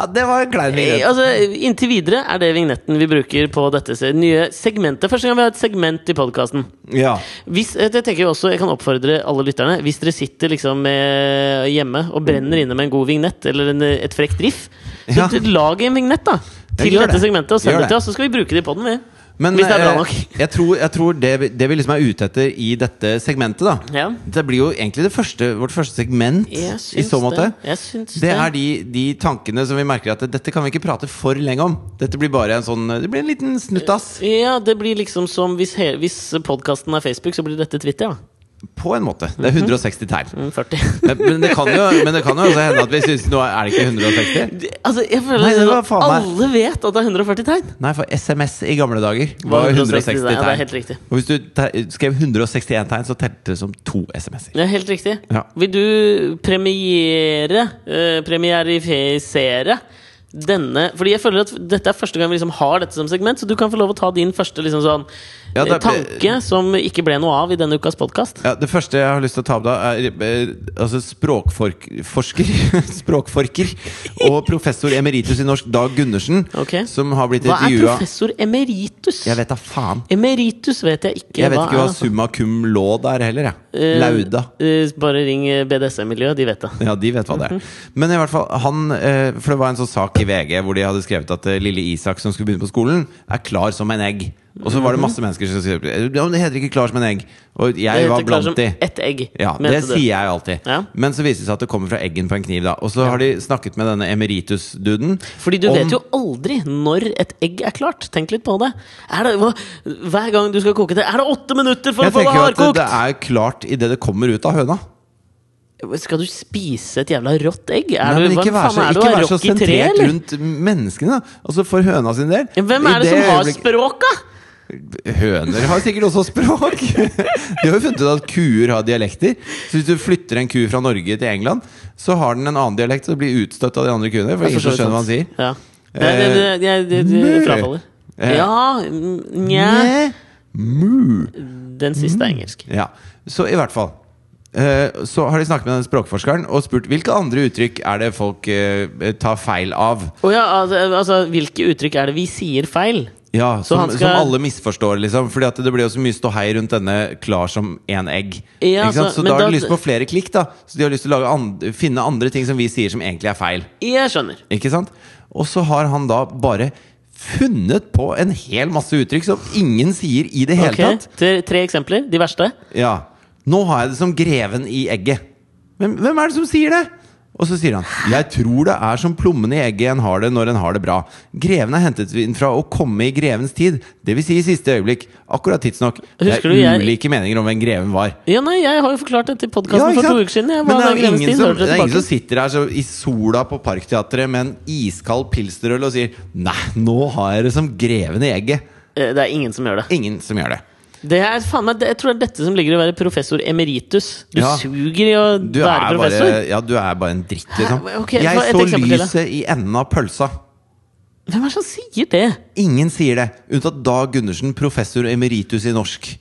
Speaker 1: Ja, det var en klein
Speaker 2: Eh,
Speaker 1: vignett.
Speaker 2: Altså, inntil videre er det vignetten vi bruker på dette se- nye segmentet. Første gang vi har et segment i podkasten.
Speaker 1: Ja.
Speaker 2: Hvis, eh, det tenker Jeg også, jeg kan oppfordre alle lytterne. Hvis dere sitter liksom eh, hjemme og brenner inne med en god vignett eller en, eh, et frekt riff, så
Speaker 1: Ja.
Speaker 2: t- lag en vignett da til
Speaker 1: gjør
Speaker 2: dette
Speaker 1: det.
Speaker 2: segmentet og send
Speaker 1: Gjør
Speaker 2: det til
Speaker 1: det.
Speaker 2: oss. Så skal vi bruke det i poden, vi.
Speaker 1: Men
Speaker 2: Hvis det er bra
Speaker 1: eh,
Speaker 2: nok.
Speaker 1: jeg tror, jeg tror det, vi- det vi liksom er ute etter i dette segmentet, da
Speaker 2: Ja.
Speaker 1: Det blir jo egentlig det første, vårt første segment
Speaker 2: Jeg
Speaker 1: i
Speaker 2: syns
Speaker 1: så måte.
Speaker 2: Det. Jeg syns
Speaker 1: Det er de, de tankene som vi merker at dette kan vi ikke prate for lenge om. Dette blir bare en sånn Det blir en liten snuttas.
Speaker 2: Ja, det blir liksom som hvis, he- hvis podkasten er Facebook, så blir dette Twitter, ja.
Speaker 1: På en måte.
Speaker 2: Mhm.
Speaker 1: Det er 160 tegn.
Speaker 2: Mm, 40.
Speaker 1: Men, men, det kan jo, men det kan jo også hende at vi syns nå er det ikke 160.
Speaker 2: Det- altså, jeg føler
Speaker 1: Nei, det var
Speaker 2: at
Speaker 1: faen meg-
Speaker 2: alle vet at det er 140 tegn.
Speaker 1: Nei, for SMS i gamle dager var 160
Speaker 2: Ja, det er
Speaker 1: tegn.
Speaker 2: helt riktig.
Speaker 1: Og hvis du te- skrev 161 tegn, så telte det som to SMS-er.
Speaker 2: Ja, helt riktig.
Speaker 1: Ja.
Speaker 2: Vil du premiere eh, Premierifisere denne Fordi jeg føler at dette er første gang vi liksom har dette som segment, så du kan få lov å ta din første liksom sånn
Speaker 1: Ja,
Speaker 2: eh,
Speaker 1: det-
Speaker 2: tanke som ikke ble noe av i denne ukas podkast.
Speaker 1: Ja, det første jeg har lyst til å ta opp da, er eh, altså språkforsker Språkforker og professor emeritus i norsk, Dag Gundersen,
Speaker 2: Ok.
Speaker 1: som har blitt
Speaker 2: Hva er
Speaker 1: intervjua
Speaker 2: professor emeritus?
Speaker 1: Jeg vet da faen.
Speaker 2: Emeritus vet jeg ikke.
Speaker 1: Jeg vet ikke
Speaker 2: er,
Speaker 1: hva
Speaker 2: altså.
Speaker 1: summa cum laude er heller, jeg.
Speaker 2: Eh,
Speaker 1: Lauda.
Speaker 2: eh, bare ring eh, BDSM-miljøet, de vet det.
Speaker 1: Ja, de vet hva det
Speaker 2: mhm.
Speaker 1: er. Men i hvert fall, han eh, For det var en sånn sak i VG hvor de hadde skrevet at eh, lille Isak som skulle begynne på skolen, er klar som en egg. Og så var det masse mennesker som skrev eh, "Ja, men Det heter ikke 'klar som en egg'. Og
Speaker 2: Mhm. Det
Speaker 1: jeg var
Speaker 2: heter klart
Speaker 1: blant
Speaker 2: som
Speaker 1: de.
Speaker 2: Ett egg,
Speaker 1: Ja,
Speaker 2: mente
Speaker 1: det
Speaker 2: du.
Speaker 1: sier jeg alltid.
Speaker 2: Ja.
Speaker 1: Men så viser det seg at det kommer fra eggen på en kniv. da Og så har de snakket med denne emeritus-duden.
Speaker 2: Fordi du
Speaker 1: om-
Speaker 2: vet jo aldri når et egg er klart. Tenk litt på det. Er det hva, hver gang du skal koke det, er det åtte minutter for
Speaker 1: Jeg
Speaker 2: å få det
Speaker 1: tenker jo at det-
Speaker 2: hardkokt!
Speaker 1: det er klart idet det kommer ut av høna.
Speaker 2: Skal du spise et jævla rått egg? Er
Speaker 1: Nei,
Speaker 2: du,
Speaker 1: men
Speaker 2: hva
Speaker 1: ikke vær
Speaker 2: faen
Speaker 1: så,
Speaker 2: er du
Speaker 1: ikke
Speaker 2: er
Speaker 1: vær så
Speaker 2: rock i tre,
Speaker 1: sentrert
Speaker 2: eller?
Speaker 1: rundt menneskene. da. Altså For høna sin del.
Speaker 2: Hvem
Speaker 1: I
Speaker 2: er det som har
Speaker 1: øyeblikk-
Speaker 2: språka?
Speaker 1: Høner har sikkert også språk. De har jo funnet ut at kuer har dialekter. Så hvis du flytter en ku fra Norge til England, så har den en annen dialekt og blir utstøtt av de andre kuene. For ingen skjønner hva han sier.
Speaker 2: Ja. Det, det, det, det, det, det,
Speaker 1: Eh,
Speaker 2: frafaller.
Speaker 1: eh,
Speaker 2: Ja, mm, nja
Speaker 1: Mu.
Speaker 2: Den siste er engelsk.
Speaker 1: Ja. Så i hvert fall. eh, Så har de snakket med den språkforskeren og spurt hvilke andre uttrykk er det folk eh, tar feil av.
Speaker 2: Å ja, altså, altså, hvilke uttrykk er det vi sier feil?
Speaker 1: Ja, som,
Speaker 2: han skal-
Speaker 1: som alle misforstår, liksom. Fordi at det ble jo så mye ståhei rundt denne 'klar som én egg'.
Speaker 2: Ja,
Speaker 1: ikke sant?
Speaker 2: så-
Speaker 1: Så
Speaker 2: men
Speaker 1: da har de
Speaker 2: da-
Speaker 1: lyst på flere klikk, da. Så de har lyst til å lage and finne andre ting som vi sier som egentlig er feil.
Speaker 2: Jeg skjønner.
Speaker 1: Ikke sant? Og så har han da bare funnet på en hel masse uttrykk som ingen sier i det hele
Speaker 2: Ok,
Speaker 1: tatt.
Speaker 2: Tre, tre eksempler. De verste.
Speaker 1: Ja. Nå har jeg det som greven i egget. Hvem, hvem er det som sier det? Og så sier han Jeg tror det er som plommen i egget en har det når en har det bra. Greven er hentet inn fra å komme i grevens tid, dvs. Si i siste øyeblikk. Akkurat tidsnok. Det
Speaker 2: Husker
Speaker 1: er
Speaker 2: du jeg-
Speaker 1: ulike meninger om hvem greven var.
Speaker 2: Ja, nei, jeg har jo forklart det til podkasten
Speaker 1: Ja, ikke
Speaker 2: for to
Speaker 1: sant?
Speaker 2: uker siden.
Speaker 1: Men
Speaker 2: Jeg var
Speaker 1: det er,
Speaker 2: der
Speaker 1: jo
Speaker 2: Grevens
Speaker 1: ingen
Speaker 2: Tid,
Speaker 1: som,
Speaker 2: hørte
Speaker 1: det er ingen
Speaker 2: tilbake.
Speaker 1: som sitter her så i sola på Parkteatret med en iskald pilsterøl og sier Nei, nå har jeg det som greven i egget.
Speaker 2: Eh, Det er ingen som gjør det.
Speaker 1: Ingen som gjør det.
Speaker 2: Det er faen meg, det- Jeg tror det er dette som ligger i å være professor emeritus. Du
Speaker 1: Ja.
Speaker 2: suger i å
Speaker 1: Du
Speaker 2: være
Speaker 1: er,
Speaker 2: professor.
Speaker 1: bare, ja, du er bare en dritt, liksom.
Speaker 2: Hæ? Ok, hva- et
Speaker 1: jeg så
Speaker 2: eksempel til, da.
Speaker 1: lyset i enden av pølsa.
Speaker 2: Hvem er det som sier det?
Speaker 1: Ingen sier det, unntatt Dag Gundersen, professor emeritus i norsk.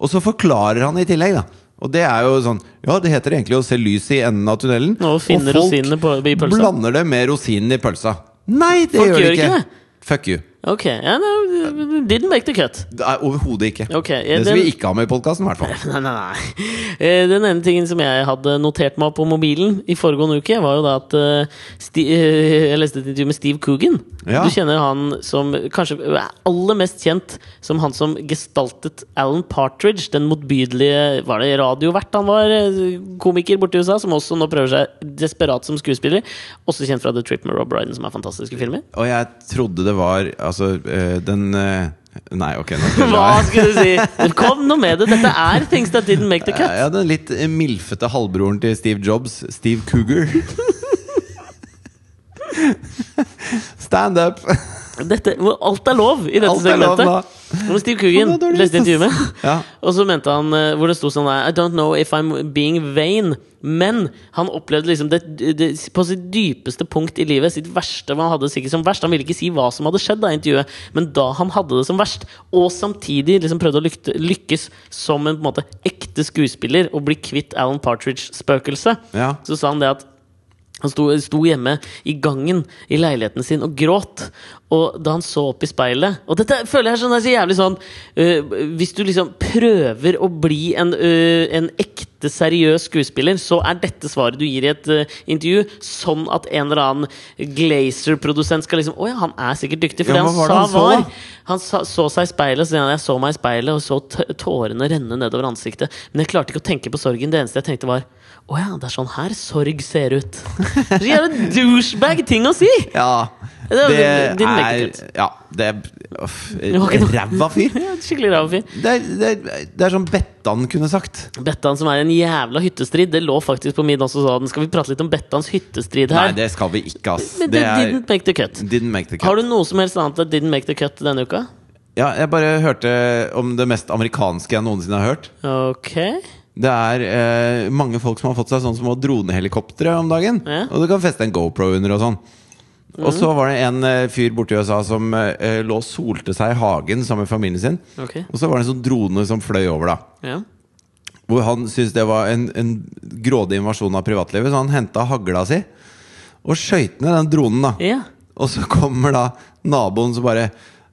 Speaker 1: Og så forklarer han i tillegg, da. Og det er jo sånn Ja, det heter egentlig å se lyset i enden av tunnelen.
Speaker 2: Og finne rosinene på- i pølsa.
Speaker 1: blander det med rosinen i pølsa. Nei, det
Speaker 2: Folk
Speaker 1: gjør
Speaker 2: gjør
Speaker 1: de ikke.
Speaker 2: ikke det.
Speaker 1: Fuck you.
Speaker 2: Ok, ja, no, Didn't make the cut.
Speaker 1: Det er Overhodet ikke.
Speaker 2: Ok, ja,
Speaker 1: det skal
Speaker 2: den-
Speaker 1: vi ikke ha med i podkasten, i hvert fall.
Speaker 2: Nei, nei, nei. Eh, Den ene tingen som jeg hadde notert meg på mobilen i foregående uke, var jo da at eh, Sti eh, Jeg leste et intervju med Steve Coogan.
Speaker 1: Ja.
Speaker 2: Du kjenner han som kanskje er aller mest kjent som han som gestaltet Alan Partridge, den motbydelige Var det radiovert han var? eh, Komiker borte i USA, som også nå prøver seg desperat som skuespiller. Også kjent fra The Trip med Rob Ryden, som er fantastiske filmer.
Speaker 1: Og jeg trodde det var Altså, øh, den øh, Nei, ok. Nå skal jeg la
Speaker 2: Hva
Speaker 1: være.
Speaker 2: skulle du si? Kom nå med det! Dette er things that didn't make the cut.
Speaker 1: Ja, den litt eh, milfete halvbroren til Steve Jobs, Steve Cougar. Stand up!
Speaker 2: Dette, hvor alt er lov i dette
Speaker 1: Alt er lov nå.
Speaker 2: segmentet. Hvor Steve
Speaker 1: Å, det
Speaker 2: Coogan
Speaker 1: var dårlig,
Speaker 2: leste
Speaker 1: ass.
Speaker 2: intervjuet med.
Speaker 1: Ja.
Speaker 2: Og så mente han eh, hvor det sto sånn I don't know if I'm being vain. Men han opplevde liksom det, det på sitt dypeste punkt i livet, sitt verste hva han hadde det sikkert som verst. Han ville ikke si hva som hadde skjedd da i intervjuet, men da han hadde det som verst, og samtidig liksom prøvde å lykte, lykkes som en på en måte ekte skuespiller og bli kvitt Alan Partridge-spøkelset,
Speaker 1: Ja.
Speaker 2: så sa han det at Han sto, sto hjemme i gangen i leiligheten sin og gråt. Og da han så opp i speilet Og dette føler jeg sånn, er så jævlig sånn øh, Hvis du liksom prøver å bli en, øh, en ekte, seriøs skuespiller, så er dette svaret du gir i et øh, intervju, sånn at en eller annen Glazer-produsent skal liksom Å ja, han er sikkert dyktig. For
Speaker 1: Ja,
Speaker 2: det
Speaker 1: hva var det
Speaker 2: han sa,
Speaker 1: han så,
Speaker 2: var
Speaker 1: da?
Speaker 2: han sa, så seg i speilet, så sier han, jeg så meg i speilet og så t- tårene renne nedover ansiktet. Men jeg klarte ikke å tenke på sorgen. Det eneste jeg tenkte, var å ja, det er sånn her sorg ser ut. Så jævla douchebag ting å si!
Speaker 1: Ja,
Speaker 2: Det
Speaker 1: det
Speaker 2: er
Speaker 1: er
Speaker 2: din negativitet.
Speaker 1: Ja, det er uff,
Speaker 2: var ikke noe-
Speaker 1: Ræva fyr!
Speaker 2: Ja, Skikkelig ræv fyr.
Speaker 1: Det er, det, er, det er som Bettan kunne sagt.
Speaker 2: Bettan som er en jævla hyttestrid, det lå faktisk på min også, sa den. Skal vi prate litt om Bettans hyttestrid
Speaker 1: Nei,
Speaker 2: her?
Speaker 1: det skal vi ikke, ass. Det
Speaker 2: Men det
Speaker 1: er,
Speaker 2: didn't make the cut.
Speaker 1: didn't make the cut.
Speaker 2: Har du noe som helst annet enn didn't make the cut denne uka?
Speaker 1: Ja, jeg bare hørte om det mest amerikanske jeg noensinne har hørt.
Speaker 2: Ok.
Speaker 1: Det er eh, mange folk som har fått seg sånn små dronehelikoptre om dagen.
Speaker 2: Ja.
Speaker 1: Og du kan feste en GoPro under og sånn. Og så var det en eh, fyr borti USA som eh, lå og solte seg i hagen sammen med familien sin.
Speaker 2: Ok.
Speaker 1: Og så var det en sånn drone som fløy over, da.
Speaker 2: Ja.
Speaker 1: Hvor han syntes det var en, en grådig invasjon av privatlivet, så han henta hagla si og skøyt ned den dronen. da
Speaker 2: ja.
Speaker 1: Og så kommer da naboen som bare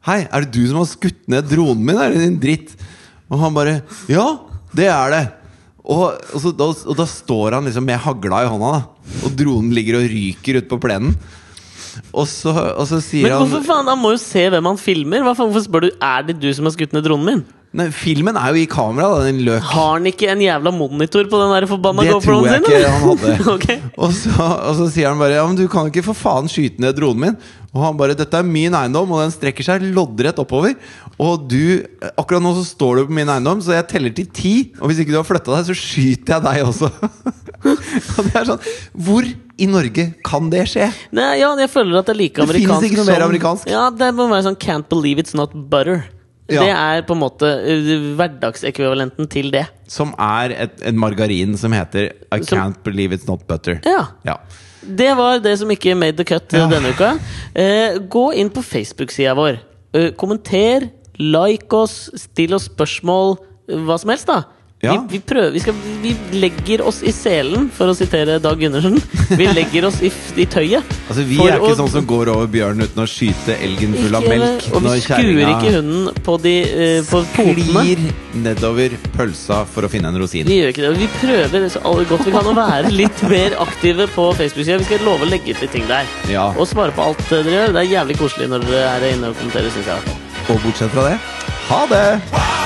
Speaker 1: Hei, er det du som har skutt ned dronen min? Er det din dritt? Og han bare Ja, det er det. Og, og, så, da, og da står han liksom med hagla i hånda, da. Og dronen ligger og ryker ute på plenen. Og så, og så sier
Speaker 2: Men hvorfor
Speaker 1: han
Speaker 2: faen? Han må jo se hvem han filmer. Hva faen, hvorfor spør du er det du som har skutt ned dronen min?
Speaker 1: Nei, Filmen er jo i kamera, da, den løk.
Speaker 2: Har han ikke en jævla monitor på den der forbanna
Speaker 1: Det tror
Speaker 2: GoProen
Speaker 1: jeg
Speaker 2: sin?
Speaker 1: ikke
Speaker 2: eller?
Speaker 1: han hadde.
Speaker 2: Ok.
Speaker 1: Og så, og så sier han bare Ja, men du kan ikke for faen skyte ned dronen min Og han bare, dette er min eiendom Og den strekker seg loddrett oppover Og du, akkurat nå så står du på min eiendom Så jeg teller til ti Og hvis ikke du har flyttet deg, så skyter jeg deg også Og det er sånn Hvor i Norge kan det skje?
Speaker 2: Nei, ja, jeg føler at det er like
Speaker 1: Det finnes
Speaker 2: amerikansk
Speaker 1: ikke noe mer
Speaker 2: som-
Speaker 1: amerikansk.
Speaker 2: Ja, det må være sånn Can't believe it's not butter.
Speaker 1: Ja.
Speaker 2: Det er på en måte uh, hverdagsekvivalenten til det.
Speaker 1: Som er et, en margarin som heter I
Speaker 2: Som-
Speaker 1: can't believe it's not butter
Speaker 2: Ja.
Speaker 1: Ja
Speaker 2: Det var det som ikke made the cut eh,
Speaker 1: Ja.
Speaker 2: denne uka. Eh, gå inn på Facebook-sida vår. Eh, kommenter, like oss, still oss spørsmål, eh, hva som helst, da.
Speaker 1: Ja.
Speaker 2: Vi, vi, prøver, vi, skal, vi legger oss i selen, for å sitere Dag Gundersen. Vi legger oss i, f- i tøyet.
Speaker 1: Altså vi
Speaker 2: For
Speaker 1: er ikke
Speaker 2: å-
Speaker 1: sånn som går over bjørnen uten å skyte elgen full av
Speaker 2: Ikke-
Speaker 1: melk
Speaker 2: Og vi
Speaker 1: når
Speaker 2: skuer
Speaker 1: kjerringa-
Speaker 2: ikke hunden på, de, eh, på potene.
Speaker 1: Glir nedover pølsa for å finne en rosin.
Speaker 2: Vi gjør ikke det. og Vi prøver så all- godt vi kan å være litt mer aktive på Facebook-sida. Vi skal love å legge ut litt ting der.
Speaker 1: Ja.
Speaker 2: Og svare på alt eh, dere gjør. Det er jævlig koselig når dere er inne og kommenterer, synes jeg. i hvert fall.
Speaker 1: Og bortsett fra det, ha det!